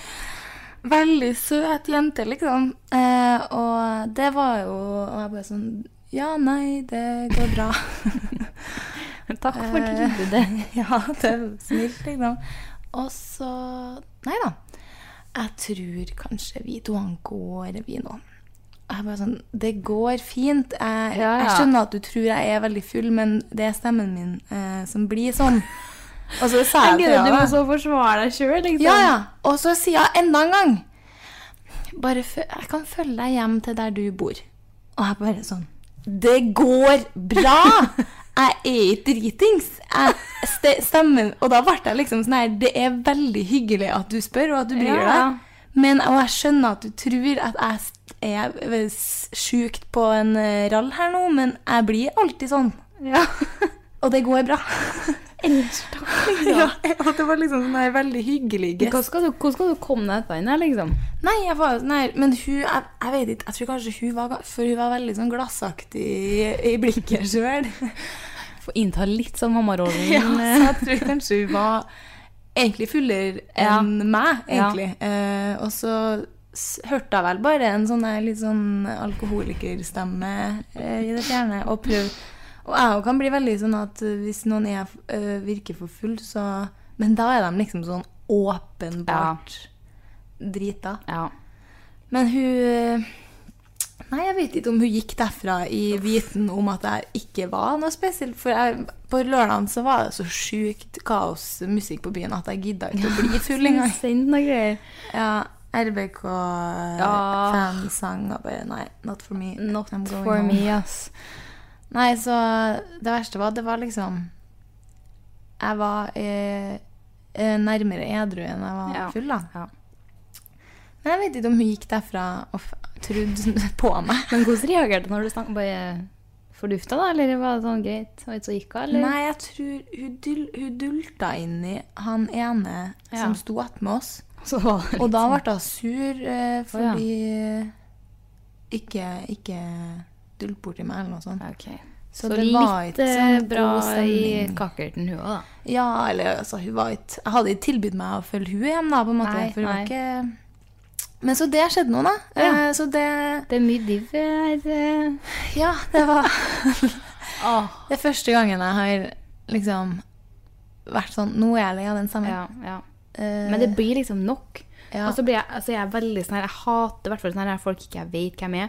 Speaker 5: Veldig søt jente, liksom. Eh, og det var jo Og jeg bare sånn Ja, nei, det går bra.
Speaker 4: Takk for
Speaker 5: Eh,
Speaker 4: tilbudet.
Speaker 5: ja, det er snilt, liksom. Og så Nei da. Jeg tror kanskje vi to han går, vi nå. Og Jeg bare sånn, Det går fint. Jeg,
Speaker 4: Ja, ja.
Speaker 5: jeg skjønner at du tror jeg er veldig full, men det er stemmen min eh, som blir sånn. Og så sa jeg til
Speaker 4: Du må
Speaker 5: henne
Speaker 4: så forsvare deg sjøl, liksom.
Speaker 5: ja, ja. Og så sier jeg enda en gang Bare fø Jeg kan følge deg hjem til der du bor. Og jeg bare sånn Det går bra! Jeg er ikke dritings. Jeg, ste, stemmen Og da ble jeg liksom sånn her Det er veldig hyggelig at du spør, og at du bryr
Speaker 4: Ja.
Speaker 5: deg. Men, og jeg skjønner at du tror at jeg s- er v- s- sjukt på en eh, rall her nå, men jeg blir alltid sånn.
Speaker 4: Ja.
Speaker 5: Og det går bra.
Speaker 4: Ellers takk, liksom.
Speaker 5: Ja, og det var liksom sånn her veldig hyggelig gest.
Speaker 4: Hvordan skal, du, hvordan skal du komme deg etterpå inn her, liksom?
Speaker 5: Nei, jeg var, nei men hun jeg, jeg vet ikke, jeg tror kanskje hun var ga- For hun var veldig sånn glassaktig i, i blikket sjøl.
Speaker 4: Få innta litt sånn mammarollen.
Speaker 5: Ja, så jeg tror kanskje hun var egentlig fullere
Speaker 4: Ja.
Speaker 5: enn meg,
Speaker 4: Ja.
Speaker 5: egentlig. Eh, og så s- hørte jeg vel bare en sånn der litt sånn alkoholikerstemme eh, i det fjerne, og prøv Og jeg òg kan bli veldig sånn at eh, hvis noen er, eh, virker for full, så Men da er de liksom sånn åpenbart drita.
Speaker 4: ja.
Speaker 5: Men hun eh, Nei, jeg vet ikke om hun gikk derfra i viten om at jeg ikke var noe spesielt. For jeg, på lørdagen så var det så sjukt kaosmusikk på byen at jeg gidda ikke å bli full engang.
Speaker 4: Send noe greier.
Speaker 5: Ja,
Speaker 4: Ja.
Speaker 5: RBK-fansang og eh, bare Nei, not for me.
Speaker 4: Not
Speaker 5: I'm going
Speaker 4: for
Speaker 5: home.
Speaker 4: me, ass.
Speaker 5: Nei, så det verste var at det var liksom Jeg var eh, eh, nærmere edru enn jeg var
Speaker 4: Ja.
Speaker 5: full, da.
Speaker 4: Ja.
Speaker 5: Men jeg vet ikke om hun gikk derfra og f- trodde på meg.
Speaker 4: Men hvordan reagerte du når du snakket? Bare fordufta, da? Eller var det sånn greit? Og ikke så gikk hun, eller?
Speaker 5: Nei, jeg tror hun, dul, hun dulta inn i han ene
Speaker 4: Ja.
Speaker 5: som sto attmed oss.
Speaker 4: Så var det
Speaker 5: Og da ble hun sur eh,
Speaker 4: ja.
Speaker 5: fordi eh, Ikke, ikke dult borti meg eller noe sånt.
Speaker 4: sånn, Ok.
Speaker 5: Så
Speaker 4: Så,
Speaker 5: det
Speaker 4: litt
Speaker 5: var ikke
Speaker 4: eh,
Speaker 5: sånn
Speaker 4: bra
Speaker 5: god
Speaker 4: i
Speaker 5: stemning.
Speaker 4: kakerten hun òg, da.
Speaker 5: Ja, eller altså, hun var ikke Jeg hadde ikke tilbudt meg å følge hun hjem, da, på en måte.
Speaker 4: Nei,
Speaker 5: for det var
Speaker 4: nei.
Speaker 5: ikke... Men så det skjedde nå, da. Eh,
Speaker 4: Ja.
Speaker 5: så det
Speaker 4: Det er mye div her. eh.
Speaker 5: Ja, det var
Speaker 4: Åh.
Speaker 5: Det er første gangen jeg har liksom vært sånn Nå er jeg lei av den samme.
Speaker 4: Ja, ja.
Speaker 5: Eh,
Speaker 4: Men det blir liksom nok.
Speaker 5: Ja.
Speaker 4: Og så blir jeg, altså jeg er veldig sånn her, jeg hater hvertfall sånn her når folk ikke jeg vet hvem er.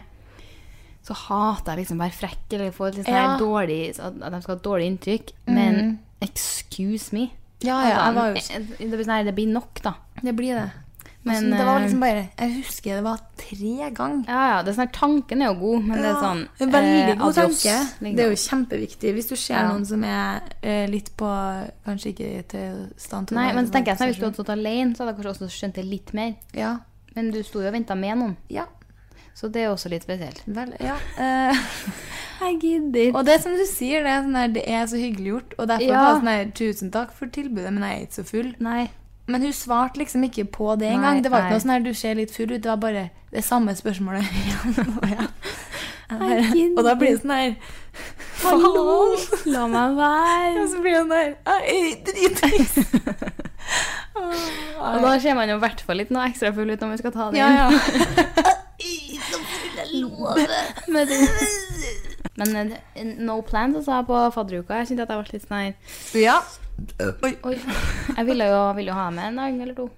Speaker 4: Så hater jeg liksom å være frekk eller få et litt sånn her
Speaker 5: Ja.
Speaker 4: dårlig, at at de skal ha et dårlig inntrykk. Men excuse me.
Speaker 5: ja, Ah, ja, jeg var jo
Speaker 4: Altså, det, blir sånn her, det blir nok, da.
Speaker 5: Det blir det.
Speaker 4: Men,
Speaker 5: Men, det var
Speaker 4: eh,
Speaker 5: liksom bare Jeg husker det var tre ganger.
Speaker 4: Ja, ja, det er sånn her, Tanken er jo god, men det er sånn
Speaker 5: Veldig
Speaker 4: eh,
Speaker 5: god
Speaker 4: adios,
Speaker 5: tanke.
Speaker 4: liksom.
Speaker 5: Det er jo kjempeviktig. Hvis du ser
Speaker 4: Ja.
Speaker 5: noen som er eh, litt på Kanskje ikke til stand til å
Speaker 4: Nei,
Speaker 5: være
Speaker 4: men så tenker jeg
Speaker 5: på
Speaker 4: sånn, Hvis du
Speaker 5: seg
Speaker 4: hadde stått alene, så hadde jeg kanskje også skjønt det litt mer.
Speaker 5: selv. Ja.
Speaker 4: Men du sto jo og venta med noen,
Speaker 5: Ja.
Speaker 4: så det er også litt spesielt.
Speaker 5: Vel, ja. eh,
Speaker 4: Jeg gidder.
Speaker 5: Og det som du sier, det er, sånn der, det er så hyggelig gjort. Og derfor
Speaker 4: Ja.
Speaker 5: var jeg sånn der, tusen takk for tilbudet, men jeg er ikke så full.
Speaker 4: Nei.
Speaker 5: Men hun svarte liksom ikke på det
Speaker 4: Nei,
Speaker 5: engang. Det var
Speaker 4: nei.
Speaker 5: ikke noe sånn her, du ser litt full ut. Det var bare det samme spørsmålet. Og jeg- jeg bare-
Speaker 4: gidder.
Speaker 5: og da blir det sånn her
Speaker 4: Hallo,
Speaker 5: Faen!
Speaker 4: la meg være.
Speaker 5: Og så blir det sånn her Jeg er dritings!
Speaker 4: Og da ser man jo i hvert fall litt noe ekstra full ut når man skal ta det
Speaker 5: Ja,
Speaker 4: inn.
Speaker 5: ja.
Speaker 4: Men det- Men eh, no plans, altså, jeg på fadderuka. Jeg kjente at jeg ble litt sånn her
Speaker 5: ja.
Speaker 4: Oi. Jeg ville jo, ville jo ha med en dag eller to.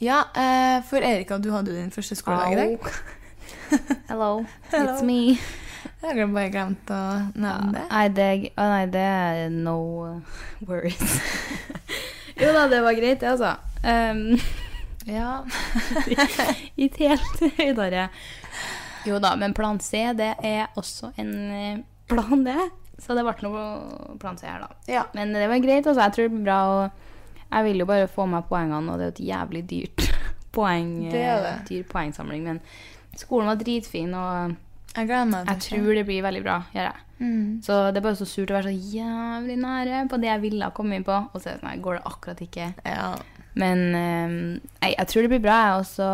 Speaker 5: ja eh, for Erika, du hadde jo din første skoledag i dag.
Speaker 4: Hello,
Speaker 5: Hello.
Speaker 4: it's me.
Speaker 5: Jeg har bare glemt å nevne det.
Speaker 4: Nei, det, å nei, det er no uh, worries. jo da, det var greit, det, altså. Um,
Speaker 5: Ja.
Speaker 4: ikke helt høydere. Jo da, men plan C, det er også en eh, plan, det. Så det ble noe plan C her, da.
Speaker 5: ja.
Speaker 4: Men det var greit, altså. Jeg tror det blir bra. Og jeg vil jo bare få meg poengene, og det er jo et jævlig dyrt poeng,
Speaker 5: Det er det.
Speaker 4: eh, dyr poengsamling. Men skolen var dritfin, og
Speaker 5: Jeg gleder meg.
Speaker 4: jeg
Speaker 5: til det.
Speaker 4: tror det blir veldig bra. Gjør jeg.
Speaker 5: Mm.
Speaker 4: Så det er bare så surt å være så jævlig nære på det jeg ville ha kommet inn på. Og så er det sånn, her, går det akkurat ikke.
Speaker 5: Ja.
Speaker 4: Men eh, jeg, jeg tror det blir bra. jeg, Og så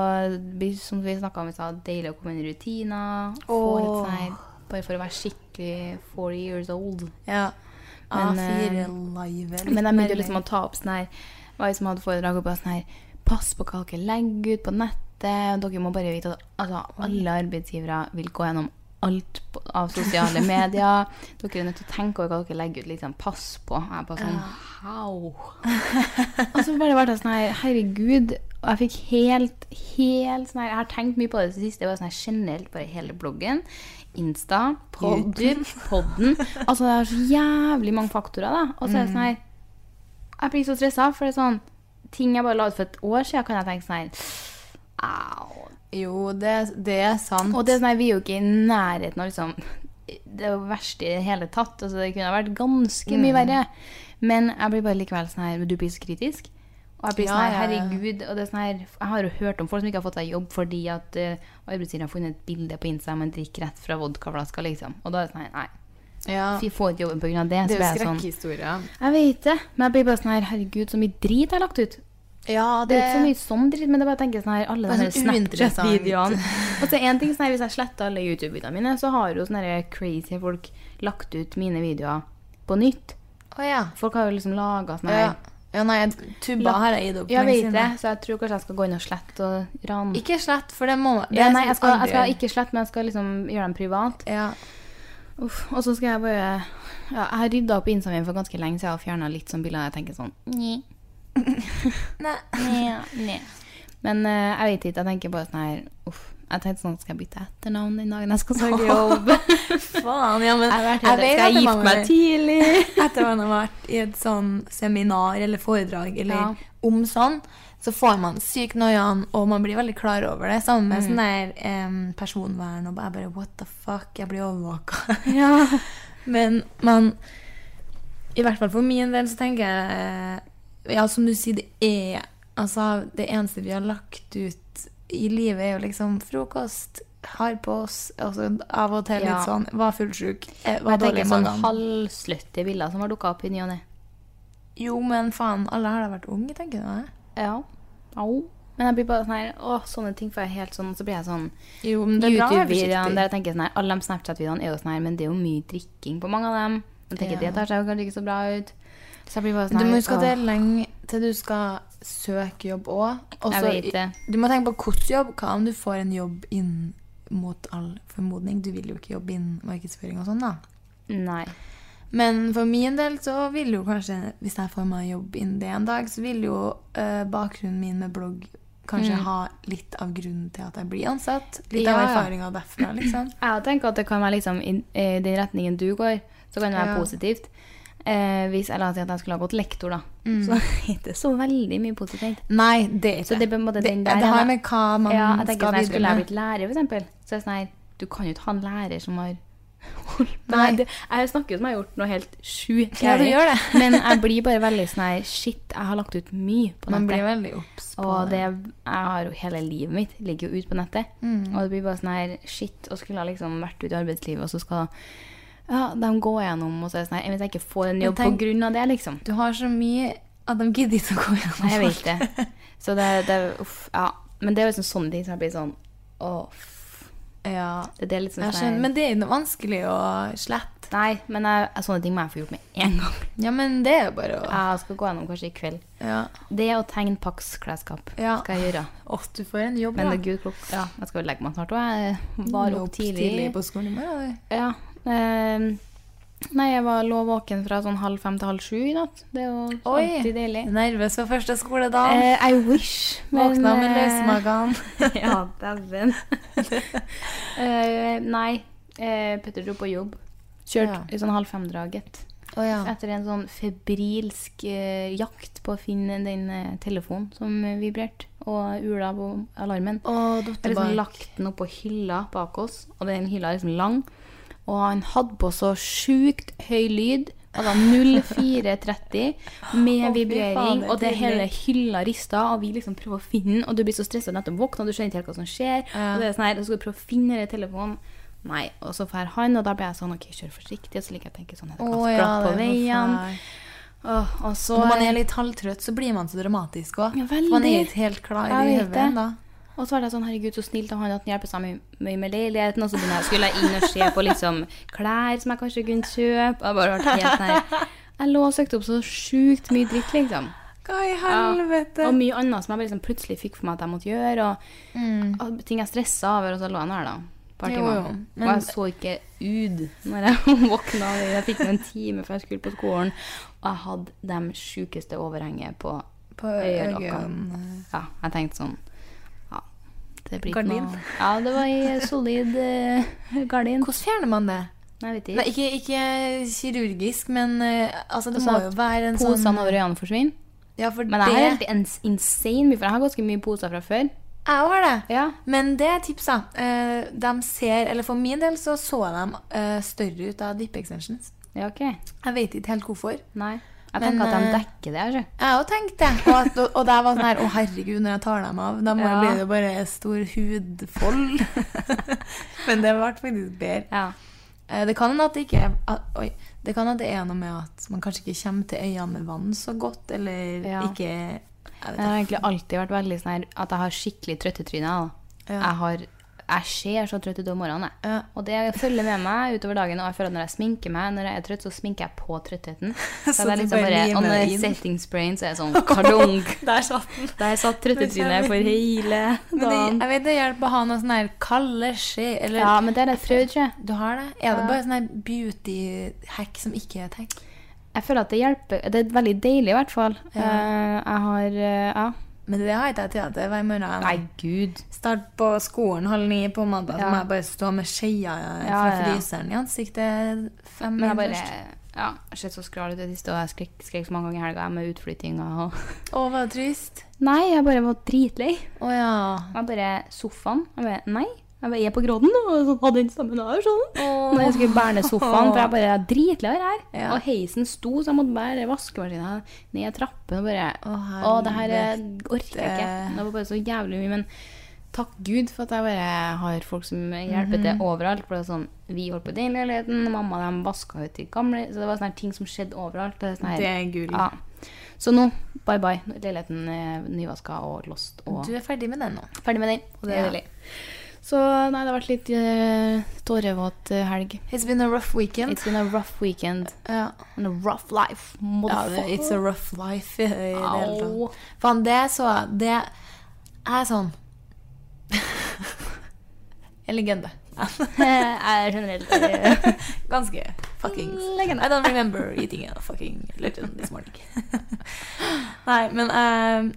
Speaker 4: blir det, som vi snakka om i stad, deilig å komme inn i rutiner. Få litt
Speaker 5: Åh.
Speaker 4: sånn her, bare for å være skikkelig 40 years old.
Speaker 5: ja.
Speaker 4: Men,
Speaker 5: A4
Speaker 4: eh,
Speaker 5: live. litt
Speaker 4: Men jeg begynte
Speaker 5: mer
Speaker 4: jo liksom å ta opp sånn her Hva jeg som hadde foredrag oppe sånn her Pass på hva dere legger ut på nettet. Dere må bare vite at altså, alle arbeidsgivere vil gå gjennom alt på, av sosiale medier. Dere er nødt til å tenke over hva dere legger ut. Liksom, pass på. Jeg bare sånn How? Og så bare ble jeg sånn her Herregud. Og jeg fikk helt, helt sånn her Jeg har tenkt mye på det siste. Det var sånn her generelt bare hele bloggen. Insta, YouTube, podden. Altså det er så jævlig mange faktorer, da. Og så er det sånn her jeg blir så stressa, for det er sånn Ting jeg bare la ut for et år siden, kan jeg tenke sånn her Au.
Speaker 5: Jo, det, det er sant.
Speaker 4: Og det er sånn her, vi er jo ikke i nærheten av liksom det verste i det hele tatt. Altså, det kunne ha vært ganske
Speaker 5: Mm.
Speaker 4: mye verre. Men jeg blir bare likevel sånn her Du blir så kritisk. Og jeg blir
Speaker 5: Ja,
Speaker 4: sånn her,
Speaker 5: ja, ja.
Speaker 4: herregud og det er sånn her, Jeg har jo hørt om folk som ikke har fått seg jobb fordi at uh, arbeidsgiver har funnet et bilde på Insta med en drikk rett fra vodkaflaska, liksom. Og da er det sånn her, nei.
Speaker 5: ja.
Speaker 4: Vi får ikke jobben pga. det.
Speaker 5: det
Speaker 4: Så blir
Speaker 5: er jo
Speaker 4: jeg sånn
Speaker 5: skrekkhistorier.
Speaker 4: Jeg vet det, men jeg blir bare sånn her, herregud, så mye drit jeg har lagt ut.
Speaker 5: Ja,
Speaker 4: Det er ikke så mye sånn dritt, men det er bare å tenke sånn her alle
Speaker 5: Bare
Speaker 4: de her
Speaker 5: sånn uinteressant.
Speaker 4: Snapchat-videoene. Og så en ting sånn her, Hvis jeg sletter alle YouTube-videoene mine, så har jo sånne her crazy folk lagt ut mine videoer på nytt.
Speaker 5: Å ja.
Speaker 4: Folk har jo liksom laga sånn
Speaker 5: ja.
Speaker 4: her.
Speaker 5: Ja, nei, jeg- tuba har jeg gitt opp.
Speaker 4: Jeg
Speaker 5: lenge
Speaker 4: vet
Speaker 5: siden.
Speaker 4: det, så jeg tror kanskje jeg skal gå inn og slette og rane.
Speaker 5: Ikke slett, for det må det
Speaker 4: Ja,
Speaker 5: er
Speaker 4: nei, jeg skal, jeg skal
Speaker 5: aldri-
Speaker 4: ikke slette, men jeg skal liksom gjøre dem privat.
Speaker 5: ja.
Speaker 4: Uff, og så skal jeg bare ja, Jeg har rydda opp instaen min for ganske lenge siden og fjerna litt sånn bilder jeg tenker sånn Nei.
Speaker 5: Nei.
Speaker 4: Nei. Men eh, jeg vet ikke. Jeg tenker bare sånn her Uff. Jeg tenkte sånn Skal jeg bytte etternavn den dagen jeg skal søke jobb?
Speaker 5: Faen, ja, men
Speaker 4: Jeg har vært redd. Skal
Speaker 5: jeg vet at det
Speaker 4: jeg
Speaker 5: var
Speaker 4: gifte meg
Speaker 5: med-
Speaker 4: tidlig?
Speaker 5: Etter man har vært i et sånn seminar eller foredrag eller
Speaker 4: Ja.
Speaker 5: om sånn, så får man syk noiaen, og man blir veldig klar over det.
Speaker 4: Mm.
Speaker 5: Sammen med sånn der em, personvern og bare, jeg bare What the fuck? Jeg blir overvåka. Men man I hvert fall for min del så tenker jeg Ja, som du sier, det er Altså, det eneste vi har lagt ut i livet, er jo liksom frokost, har på oss altså, Av og til
Speaker 4: Ja.
Speaker 5: litt sånn Var fullsjuk, eh,
Speaker 4: Jeg
Speaker 5: var dårlig i
Speaker 4: tenker sånn
Speaker 5: magen.
Speaker 4: halvsløtte bilder som har dukka opp i ny og ne.
Speaker 5: Jo, men faen, alle har da vært unge, tenker du? det?
Speaker 4: Ja. Au. Men jeg blir bare sånn her Å, sånne ting får jeg helt sånn Så blir jeg sånn
Speaker 5: Jo, men det er bra å være
Speaker 4: YouTube-videoene der
Speaker 5: forsiktig.
Speaker 4: jeg tenker sånn her Alle de Snapchat-videoene er jo sånn her, men det er jo mye drikking på mange av dem. Jeg tenker
Speaker 5: Ja.
Speaker 4: Det tar seg jo kanskje ikke så bra ut. Så jeg blir bare sånn
Speaker 5: Du
Speaker 4: her,
Speaker 5: må huske at det
Speaker 4: «Åh,
Speaker 5: er lenge til du skal søke jobb òg.
Speaker 4: Jeg vet det.
Speaker 5: Du må tenke på hvilken jobb. Hva om du får en jobb inn mot all formodning? Du vil jo ikke jobbe innen markedsføring og sånn, da.
Speaker 4: Nei.
Speaker 5: Men for min del så vil jo kanskje, hvis jeg får meg jobb innen det en dag, så vil jo eh, bakgrunnen min med blogg kanskje ha litt av grunnen til at jeg blir ansatt. Litt
Speaker 4: Ja,
Speaker 5: av
Speaker 4: ja.
Speaker 5: erfaringa derfra, liksom.
Speaker 4: Jeg tenker at det kan være liksom i i den retningen du går, så kan det være
Speaker 5: Ja.
Speaker 4: positivt. Eh, hvis jeg la oss si at jeg skulle ha gått lektor, da,
Speaker 5: Mm.
Speaker 4: så er det så veldig mye positivt.
Speaker 5: Nei, det er ikke
Speaker 4: Så det er på en måte
Speaker 5: det,
Speaker 4: den der
Speaker 5: det har
Speaker 4: jeg-
Speaker 5: med hva man
Speaker 4: ja, jeg tenker
Speaker 5: skal
Speaker 4: sånn, her,
Speaker 5: videre
Speaker 4: Skulle jeg
Speaker 5: med.
Speaker 4: blitt lærer, for eksempel, så er det sånn her Du kan jo ikke ha en lærer som har Men
Speaker 5: Nei.
Speaker 4: jeg- det- Jeg snakker jo som jeg har gjort noe helt sjukt.
Speaker 5: Ja, du
Speaker 4: jævlig.
Speaker 5: gjør det.
Speaker 4: Men jeg blir bare veldig sånn her Shit, jeg har lagt ut mye på
Speaker 5: Man
Speaker 4: nettet.
Speaker 5: blir veldig obs på
Speaker 4: Og det, jeg har jo hele livet mitt
Speaker 5: Mm.
Speaker 4: ligger jo ute på nettet. Og det blir bare sånn her shit, og skulle ha liksom vært ute i arbeidslivet, og så skal Ja, de går gjennom, og så er det sånn her Hvis jeg ikke får en
Speaker 5: Men
Speaker 4: jobb på
Speaker 5: tenk-
Speaker 4: grunn av det, liksom.
Speaker 5: Du har så mye at de gidder ikke å gå gjennom.
Speaker 4: Nei, jeg vet det. Så det, det Uff. Ja. Men det er jo liksom sånne ting som jeg blir sånn Å, f-
Speaker 5: Ja,
Speaker 4: det, det er litt sånn
Speaker 5: jeg
Speaker 4: sånn her-
Speaker 5: skjønner. Men det er jo noe vanskelig å slette.
Speaker 4: Nei, men jeg, sånne ting må jeg få gjort med en gang.
Speaker 5: Ja, men det er jo bare å
Speaker 4: Jeg skal gå gjennom kanskje i kveld.
Speaker 5: Ja.
Speaker 4: Det å tegne pakksklesskap
Speaker 5: Ja.
Speaker 4: skal jeg gjøre.
Speaker 5: Å, du får en jobb,
Speaker 4: Men det er
Speaker 5: da.
Speaker 4: gud klokk. Ja, jeg skal jo legge meg snart òg. Jeg var opp tidlig.
Speaker 5: på skolen i morgen. du.
Speaker 4: Ja. ehm, nei, jeg var lå våken fra sånn halv fem til halv sju i natt. Det er jo alltid deilig.
Speaker 5: Nervøs for første skoledag.
Speaker 4: Eh, I wish.
Speaker 5: Våkna med
Speaker 4: eh,
Speaker 5: løsmagen.
Speaker 4: ja, dæven. Eh, nei, eh, Petter dro på jobb. Kjørte
Speaker 5: Ja.
Speaker 4: i sånn halv fem-draget.
Speaker 5: Å ja.
Speaker 4: Etter en sånn febrilsk eh, jakt på å finne den eh, telefonen som vibrerte, og ula på alarmen. Jeg har
Speaker 5: Å,
Speaker 4: liksom
Speaker 5: dotterbak.
Speaker 4: lagt den opp på hylla bak oss, og den hylla er liksom lang. Og han hadde på så sjukt høy lyd. Altså 0430 med
Speaker 5: Å, fy faen,
Speaker 4: vibrering,
Speaker 5: det er
Speaker 4: og det hele
Speaker 5: tidlig.
Speaker 4: hylla rista, og vi liksom prøver å finne den, og du blir så stressa nettopp våkna, og du skjønner ikke helt hva som skjer.
Speaker 5: Ja.
Speaker 4: Og det er sånn her, og så skal du prøve å finne den telefonen. Nei. Og så drar han, og da blir jeg sånn OK, kjør forsiktig. Og så liker jeg å tenke sånn, er det
Speaker 5: Å
Speaker 4: ganske
Speaker 5: ja,
Speaker 4: glatt på
Speaker 5: det er
Speaker 4: veien?
Speaker 5: forferdelig.
Speaker 4: Åh, og så
Speaker 5: Når man er litt halvtrøtt, så blir man så dramatisk òg.
Speaker 4: Ja, veldig.
Speaker 5: man er ikke helt klar i
Speaker 4: Jeg vet
Speaker 5: hodet
Speaker 4: det.
Speaker 5: ennå.
Speaker 4: Og så var det sånn, herregud, så snilt av han at han hjelper seg mye mye med leiligheten. Og så begynner jeg, skulle jeg inn og se på liksom klær som jeg kanskje kunne kjøpe. Jeg bare vært helt sånn her. Jeg lå og søkte opp så sjukt mye dritt, liksom.
Speaker 5: Hva i
Speaker 4: Ja.
Speaker 5: helvete?
Speaker 4: Og mye annet som jeg bare liksom plutselig fikk for meg at jeg måtte gjøre. Og, og ting jeg stressa over, og så lå jeg nå her, da. Et par
Speaker 5: Mm. Jo,
Speaker 4: timer.
Speaker 5: jo,
Speaker 4: Og
Speaker 5: men-
Speaker 4: jeg så ikke ut når jeg våkna. Jeg fikk en time før jeg skulle på skolen. Og jeg hadde de sjukeste overhenget på
Speaker 5: På
Speaker 4: øyelokkene. Ja, jeg tenkte sånn Ja, det blir ikke
Speaker 5: Gardin?
Speaker 4: noe Ja, det var ei solid eh, gardin.
Speaker 5: Hvordan fjerner man det?
Speaker 4: Nei, jeg vet
Speaker 5: Nei,
Speaker 4: ikke.
Speaker 5: ikke, ikke kirurgisk, men eh, altså, det
Speaker 4: Altså,
Speaker 5: må jo være en
Speaker 4: Posene
Speaker 5: sånn
Speaker 4: over øynene forsvinner.
Speaker 5: Ja, for
Speaker 4: Men jeg har helt
Speaker 5: det
Speaker 4: ins- insane mye, for jeg har ganske mye poser fra før.
Speaker 5: Jeg har det.
Speaker 4: Ja.
Speaker 5: Men det er tips, da. Eh, De ser Eller for min del så så de eh, større ut av dip extensions.
Speaker 4: Ja, ok.
Speaker 5: Jeg vet ikke helt hvorfor.
Speaker 4: Nei. Jeg
Speaker 5: Men,
Speaker 4: tenker at de
Speaker 5: eh,
Speaker 4: dekker det. Altså.
Speaker 5: Jeg har jo tenkt det. Og, at, og der var sånn her Å, herregud, når jeg tar dem av, da må-
Speaker 4: Ja.
Speaker 5: blir det jo bare stor hudfold. Men det ble faktisk bedre.
Speaker 4: Ja.
Speaker 5: Eh, Det kan hende at det ikke er at, Oi. Det kan hende at det er noe med at man kanskje ikke kommer til øynene med vann så godt, eller
Speaker 4: Ja.
Speaker 5: ikke Jeg vet
Speaker 4: Jeg har
Speaker 5: ikke.
Speaker 4: egentlig alltid vært veldig sånn her at jeg har skikkelig trøttetryne. jeg, da.
Speaker 5: Ja.
Speaker 4: Jeg, har, jeg ser så trøtt ut om morgenen. jeg.
Speaker 5: Ja.
Speaker 4: Og det følger med meg utover dagen. Og jeg føler at når jeg sminker meg, når jeg er trøtt, så sminker jeg på trøttheten. Så
Speaker 5: Så
Speaker 4: det er
Speaker 5: du
Speaker 4: liksom
Speaker 5: bare
Speaker 4: bare,
Speaker 5: limer
Speaker 4: Og når
Speaker 5: det
Speaker 4: jeg
Speaker 5: inn.
Speaker 4: setting sprain, så er jeg sånn kardong.
Speaker 5: Der satt den.
Speaker 4: Der satt trøttetrynet for hele
Speaker 5: Men det,
Speaker 4: dagen.
Speaker 5: jeg vet det hjelper å ha noe sånn her kalde skje, eller
Speaker 4: Ja, men det er et frø, tror jeg.
Speaker 5: Du har det? Er det bare sånn her beauty-hack som ikke er et hack?
Speaker 4: Jeg føler at det hjelper. Det er veldig deilig, i hvert fall. Eh, Jeg har eh, Ja.
Speaker 5: Men det har ikke jeg tid til hver morgen.
Speaker 4: Nei, gud.
Speaker 5: Start på skolen halv ni på mandag, så
Speaker 4: Ja.
Speaker 5: må jeg bare stå med skeia fra
Speaker 4: Ja, ja, ja.
Speaker 5: fryseren i ansiktet fem
Speaker 4: Men jeg
Speaker 5: minutter
Speaker 4: bare
Speaker 5: først.
Speaker 4: Ja, jeg har sett så skral ut i det siste, og jeg skrek, skrek så mange ganger i helga jeg med utflyttinga og
Speaker 5: Å, hva trist.
Speaker 4: Nei, jeg bare var dritlei.
Speaker 5: Å ja.
Speaker 4: Jeg bare Sofaen? Jeg bare, nei. Jeg bare jeg er på gråten nå, og så hadde den stemmen der. sånn.
Speaker 5: Åh.
Speaker 4: Når jeg skulle bære ned sofaen, for jeg bare er dritlei av det her.
Speaker 5: Ja.
Speaker 4: Og heisen sto, så jeg måtte bære vaskemaskinen ned trappen og bare
Speaker 5: Å,
Speaker 4: Å, det her eh, orker jeg ikke.
Speaker 5: helvete.
Speaker 4: Det var bare så jævlig mye. Men takk Gud for at jeg bare har folk som hjelper
Speaker 5: Mhm.
Speaker 4: til overalt. For det er sånn, Vi holdt på i den leiligheten, mamma de vaska ut de gamle Så det var sånne her ting som skjedde overalt. Det er, sånn her,
Speaker 5: Det er gull.
Speaker 4: Ja. Så nå, bye bye. Leiligheten er nyvaska og låst. Og
Speaker 5: Du er ferdig med den nå.
Speaker 4: Ferdig med den. Og det er
Speaker 5: Ja.
Speaker 4: deilig. Så nei, det har vært litt eh, tårevåt eh, helg.
Speaker 5: It's been a rough weekend.
Speaker 4: It's been a rough weekend
Speaker 5: Ja.
Speaker 4: and a rough life.
Speaker 5: Ja,
Speaker 4: Motherfucker.
Speaker 5: det- it's a rough life i i det hele
Speaker 4: Au.
Speaker 5: tatt. Faen, det så jeg Det er sånn En legende.
Speaker 4: jeg er generelt eh,
Speaker 5: Ganske fuckings
Speaker 4: Legende.
Speaker 5: I don't remember eating a fucking legend this morning. Nei, men eh,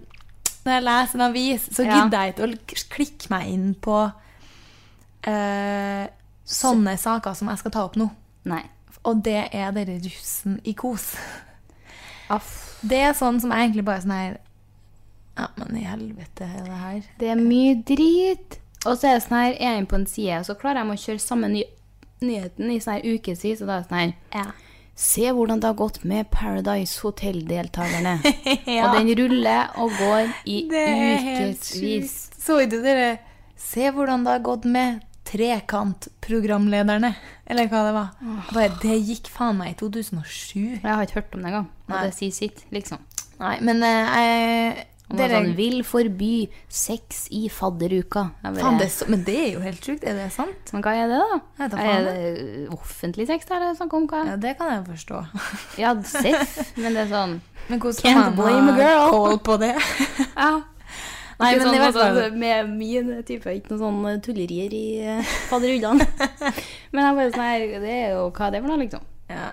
Speaker 5: når jeg leser en avis, så
Speaker 4: Ja.
Speaker 5: gidder jeg ikke å k- klikke meg inn på eh, sånne saker som jeg skal ta opp nå.
Speaker 4: Nei.
Speaker 5: Og det er dere russen i kos.
Speaker 4: Aff.
Speaker 5: Det er sånn som jeg egentlig bare sånn her Ja, men i helvete er det her?
Speaker 4: Det er mye drit. Og så er det sånn her, er jeg inne på en side, og så klarer jeg å kjøre samme ny nyheten i sånn her ukevis, og da er det sånn her Se hvordan det har gått med Paradise Hotel-deltakerne. Og den ruller og går i
Speaker 5: Det er helt
Speaker 4: ukevis.
Speaker 5: sjukt. Så du dere Se hvordan det har gått med Trekantprogramlederne, eller hva det var. Bare, det gikk faen meg i
Speaker 4: Jeg
Speaker 5: 2007.
Speaker 4: har ikke hørt om det engang.
Speaker 5: Nei.
Speaker 4: Og det sier sitt, liksom.
Speaker 5: Nei, men eh, jeg
Speaker 4: Og
Speaker 5: dere-
Speaker 4: sånn, vil forby sex i fadderuka. Jeg bare-
Speaker 5: Faen, det er så, men det er jo helt sjukt. Er det sant?
Speaker 4: Men hva er det, da?
Speaker 5: Jeg vet da
Speaker 4: Er
Speaker 5: faen.
Speaker 4: det offentlig sex det er det snakk om? Hva?
Speaker 5: Ja, det kan jeg forstå.
Speaker 4: Ja, seff, men det er sånn
Speaker 5: Men hvordan
Speaker 4: Can't
Speaker 5: faen har
Speaker 4: blame a girl.
Speaker 5: Kål på det.
Speaker 4: Ja.
Speaker 5: Nei,
Speaker 4: ikke
Speaker 5: men
Speaker 4: sånn,
Speaker 5: i hvert fall-
Speaker 4: altså, Med min type, ikke noe sånn eh, tullerier i eh, fadderullene. men jeg bare sånn her, det er jo hva er det for noe, liksom.
Speaker 5: Ja.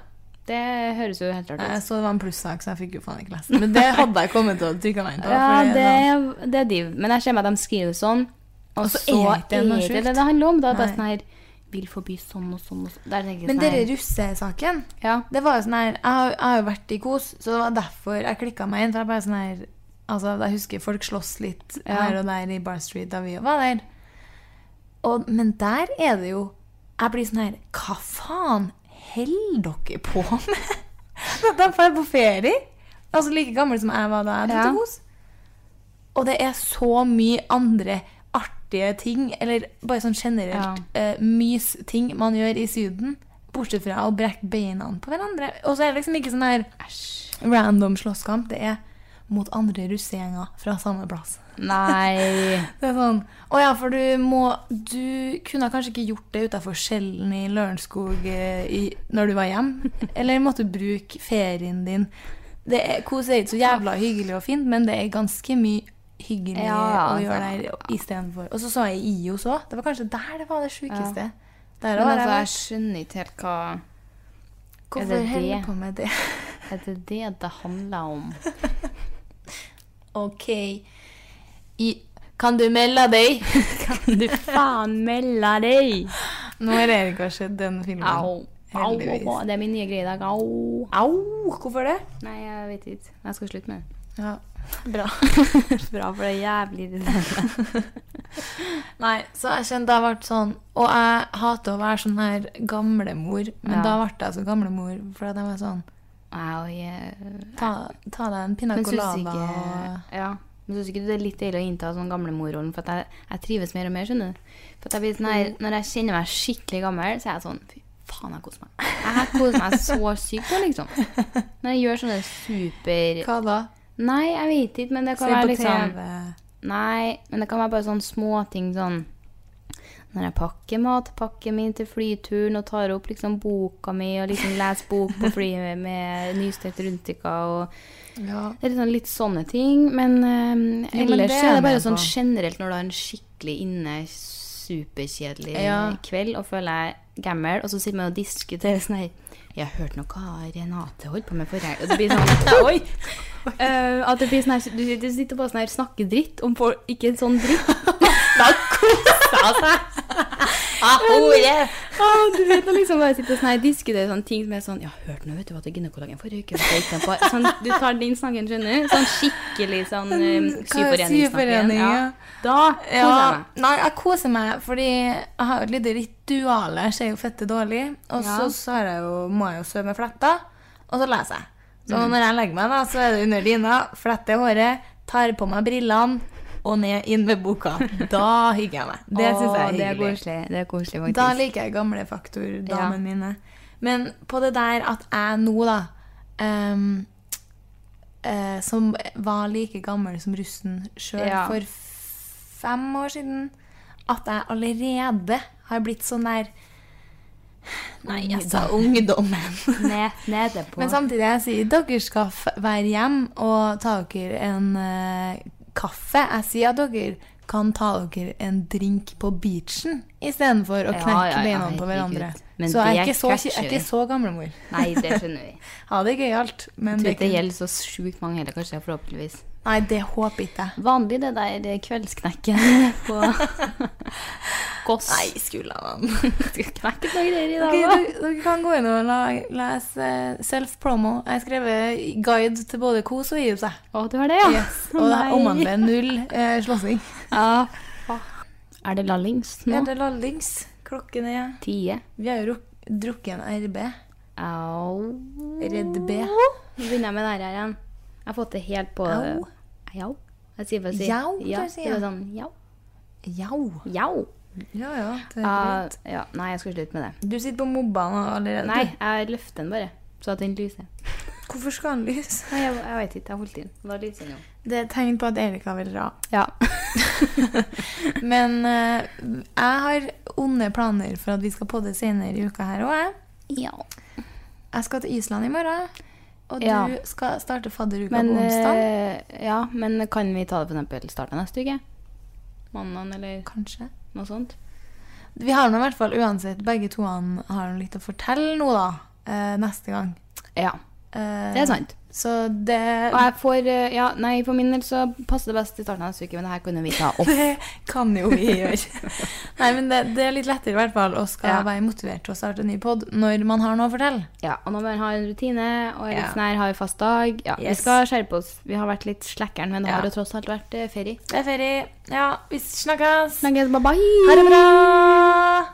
Speaker 4: Det høres jo helt rart ut.
Speaker 5: Jeg så det var en plussak, så jeg fikk jo faen ikke lest den. Men det hadde jeg kommet til å trykke meg inn på.
Speaker 4: Ja,
Speaker 5: for
Speaker 4: det,
Speaker 5: er sånn-
Speaker 4: er- det er div. Men jeg ser meg at de skriver sånn, og,
Speaker 5: Og så
Speaker 4: så,
Speaker 5: er
Speaker 4: er
Speaker 5: det noe
Speaker 4: det
Speaker 5: sjukt.
Speaker 4: det det handler om. Da er det bare
Speaker 5: Nei.
Speaker 4: sånn her Vil forby sånn og sånn og sånn. Der tenker jeg
Speaker 5: Men
Speaker 4: sånn
Speaker 5: dere
Speaker 4: her,
Speaker 5: russesaken,
Speaker 4: ja.
Speaker 5: det var jo sånn her Jeg har, jeg har jo vært i kos, så det var derfor jeg klikka meg inn. For jeg bare sånn her Altså, jeg husker folk slåss litt
Speaker 4: Ja.
Speaker 5: her og der i Bar Street da vi var der. Og, men der er det jo Jeg blir sånn her Hva faen holder dere på med? De drar på ferie. Altså like gammel som jeg var da jeg dro
Speaker 4: Ja.
Speaker 5: til kos. Og det er så mye andre artige ting, eller bare sånn generelt eh, mysting man gjør i Syden. Bortsett fra å brekke beina på hverandre. Og så er det liksom ikke sånn her random slåsskamp. Det er mot andre russegjenger fra samme plass.
Speaker 4: Nei.
Speaker 5: Det er sånn Å ja, for du må Du kunne kanskje ikke gjort det utafor skjellen i Lørenskog eh, i, når du var hjemme. Eller måtte du bruke ferien din. Det er, kos er ikke så jævla hyggelig og fint, men det er ganske mye hyggelig
Speaker 4: Ja,
Speaker 5: å gjøre
Speaker 4: altså.
Speaker 5: der istedenfor. Og så så jeg IOS òg. Det var kanskje der det var det sjukeste. Der
Speaker 4: Men
Speaker 5: har
Speaker 4: altså, jeg
Speaker 5: jeg vært.
Speaker 4: skjønner ikke helt hva er
Speaker 5: Hvorfor
Speaker 4: det
Speaker 5: holder
Speaker 4: det?
Speaker 5: du på med det?
Speaker 4: Er det det det handler om?
Speaker 5: OK. I, kan du melde deg?
Speaker 4: Kan du faen melde deg?
Speaker 5: Nå har Erik har sett den filmen.
Speaker 4: Au. Au,
Speaker 5: Heldigvis.
Speaker 4: au, au. Det er min nye greie i dag. Au.
Speaker 5: Au! Hvorfor det?
Speaker 4: Nei, jeg vet ikke. Jeg skal slutte med det.
Speaker 5: Ja, bra.
Speaker 4: Bra, for det er jævlig irriterende.
Speaker 5: Nei, så jeg kjente jeg ble sånn Og jeg hater å være sånn her gamlemor, men
Speaker 4: Ja.
Speaker 5: da ble jeg så gamlemor fordi jeg var sånn
Speaker 4: Au, jeg-
Speaker 5: Ta, ta deg en piña
Speaker 4: Men syns
Speaker 5: colada
Speaker 4: ikke,
Speaker 5: og
Speaker 4: ja. Men synes ikke du det er litt deilig å innta sånn gamlemorrollen? For at jeg, jeg trives mer og mer, skjønner du. For at jeg blir sånn her, Når jeg kjenner meg skikkelig gammel, så er jeg sånn Fy faen, jeg koser meg. Jeg koser meg så sykt nå, liksom. Når jeg gjør sånne super
Speaker 5: Hva da?
Speaker 4: Nei, jeg vet ikke, men det
Speaker 5: Se
Speaker 4: kan være
Speaker 5: på
Speaker 4: liksom
Speaker 5: TV.
Speaker 4: Nei, men det kan være bare sånne småting sånn Når jeg pakker matpakken min til flyturen og tar opp liksom boka mi og liksom leser bok på flyet med nystekt rundstykker og
Speaker 5: Ja.
Speaker 4: det er litt sånn- litt sånne ting, men eh,
Speaker 5: Jo, men
Speaker 4: ellers
Speaker 5: det
Speaker 4: så
Speaker 5: er
Speaker 4: er det
Speaker 5: jeg
Speaker 4: bare
Speaker 5: med
Speaker 4: sånn
Speaker 5: på.
Speaker 4: generelt når du har en skikkelig inne superkjedelig
Speaker 5: Ja.
Speaker 4: kveld og føler jeg gammel, og så sitter man og diskuterer sånn her Jeg hørte noe av Renate holdt på med forrige helg, og det blir sånn Oi! Eh, at det blir sånn her, du, du sitter bare sånn her snakker dritt om folk Ikke en sånn dritt. Da koser jeg seg! Ja, du vet når liksom bare sitter og sånn her diskuterer sånne ting som er sånn Ja, hørte nå, vet du, at gynekologen forrige uke så gikk den på sånn, Du tar den snakken, skjønner du? Sånn skikkelig sånn um,
Speaker 5: Hva er
Speaker 4: syforeningssnakk igjen.
Speaker 5: syforening,
Speaker 4: Ja.
Speaker 5: ja.
Speaker 4: Da koser
Speaker 5: Ja,
Speaker 4: jeg meg.
Speaker 5: nei, jeg koser meg, fordi jeg har jo et lite ritual. Jeg ser jo fette dårlig. Og
Speaker 4: Ja.
Speaker 5: så, så har jeg jo, må jeg jo sove med fletter, og så leser jeg. Så
Speaker 4: Mm.
Speaker 5: når jeg legger meg, da, så er det under dyna, fletter håret, tar på meg brillene og ned inn med boka. Da hygger jeg meg. Det syns jeg
Speaker 4: Å,
Speaker 5: er
Speaker 4: det er
Speaker 5: hyggelig.
Speaker 4: koselig. Det er koselig, faktisk.
Speaker 5: Da liksom- liker jeg gamle faktordamen mine. Men på det der at jeg nå, da ehm, eh, Som var like gammel som russen sjøl
Speaker 4: Ja.
Speaker 5: for f- fem år siden At jeg allerede har blitt sånn der Nei, jeg sa ungdommen.
Speaker 4: Ned, nede på.
Speaker 5: Men sånn- samtidig jeg sier dere skal f- være hjem og ta dere en eh, kaffe. Jeg sier at dere kan ta dere en drink på beachen istedenfor å
Speaker 4: Ja,
Speaker 5: knekke
Speaker 4: ja, ja,
Speaker 5: beina på hverandre.
Speaker 4: herregud. Men
Speaker 5: så jeg er
Speaker 4: det
Speaker 5: ikke så,
Speaker 4: catcher
Speaker 5: jeg er ikke
Speaker 4: vi.
Speaker 5: så gamlemor.
Speaker 4: Nei, det skjønner vi.
Speaker 5: Ha det gøyalt, men
Speaker 4: Jeg tror
Speaker 5: det,
Speaker 4: ikke det
Speaker 5: er ikke-
Speaker 4: gjelder så sjukt mange heller, kanskje, forhåpentligvis.
Speaker 5: Nei, det håper ikke jeg.
Speaker 4: Vanlig det der eh, kveldsknekken på Kåss.
Speaker 5: Nei, skulle han
Speaker 4: Knekket noe greier i dag
Speaker 5: Ok,
Speaker 4: da.
Speaker 5: dere, dere kan gå inn og la- lese eh, self-promo. Jeg har skrevet guide til både kos og gi seg.
Speaker 4: Å, du har det, ja?
Speaker 5: Yes. Og det
Speaker 4: Nei.
Speaker 5: omhandler null eh, slåssing.
Speaker 4: Ja. Er det lallings nå?
Speaker 5: Er det lallings? Klokken er
Speaker 4: Tie.
Speaker 5: Vi har jo ruk- drukket en RB.
Speaker 4: Au.
Speaker 5: Redd B.
Speaker 4: Nå begynner jeg med det her igjen. Jeg har fått det helt på
Speaker 5: Au.
Speaker 4: Jau. Jeg sier bare si.
Speaker 5: Jau,
Speaker 4: ja,
Speaker 5: du sier.
Speaker 4: det var sånn jau.
Speaker 5: Jau.
Speaker 4: Jau.
Speaker 5: Ja, ja. Det er
Speaker 4: Ja,
Speaker 5: greit.
Speaker 4: ja, nei, jeg skal slutte med det.
Speaker 5: Du sitter på mobbaen allerede.
Speaker 4: Nei, jeg løfter den bare, så at den lyser.
Speaker 5: Hvorfor skal han lyse?
Speaker 4: Nei, jeg, jeg vet ikke, jeg holdt den. Da lyser den jo.
Speaker 5: Det er et tegn på at Erika vil dra.
Speaker 4: Ja.
Speaker 5: Men eh, jeg har onde planer for at vi skal podde senere i uka her òg.
Speaker 4: ja.
Speaker 5: Jeg skal til Island i morgen. Og du
Speaker 4: Ja.
Speaker 5: skal starte fadderuka
Speaker 4: Men,
Speaker 5: på onsdag.
Speaker 4: eh, ja, men kan vi ta det for eksempel starten av neste uke? Mandag eller
Speaker 5: Kanskje.
Speaker 4: noe sånt?
Speaker 5: Vi har nå i hvert fall uansett begge to han har litt å fortelle nå, da. eh, neste gang.
Speaker 4: Ja,
Speaker 5: Eh,
Speaker 4: det er sant.
Speaker 5: Så det
Speaker 4: Og jeg får, eh, ja, nei, for min del så passer det best i starten av neste uke, men det her kunne vi ta opp.
Speaker 5: Det kan jo vi gjøre. Nei, men det, det er litt lettere i hvert fall å skal
Speaker 4: Ja.
Speaker 5: være motivert til å starte en ny pod når man har noe å fortelle.
Speaker 4: Ja, og når man har en rutine, og er
Speaker 5: Ja.
Speaker 4: litt snær, har fast dag. Ja,
Speaker 5: Yes.
Speaker 4: Vi skal skjerpe oss. Vi har vært litt slekkeren, men det
Speaker 5: Ja.
Speaker 4: har jo tross alt vært eh, ferie.
Speaker 5: Det er ferie. Ja, vi snakkes.
Speaker 4: Snakkes, bye bye!
Speaker 5: Ha det bra.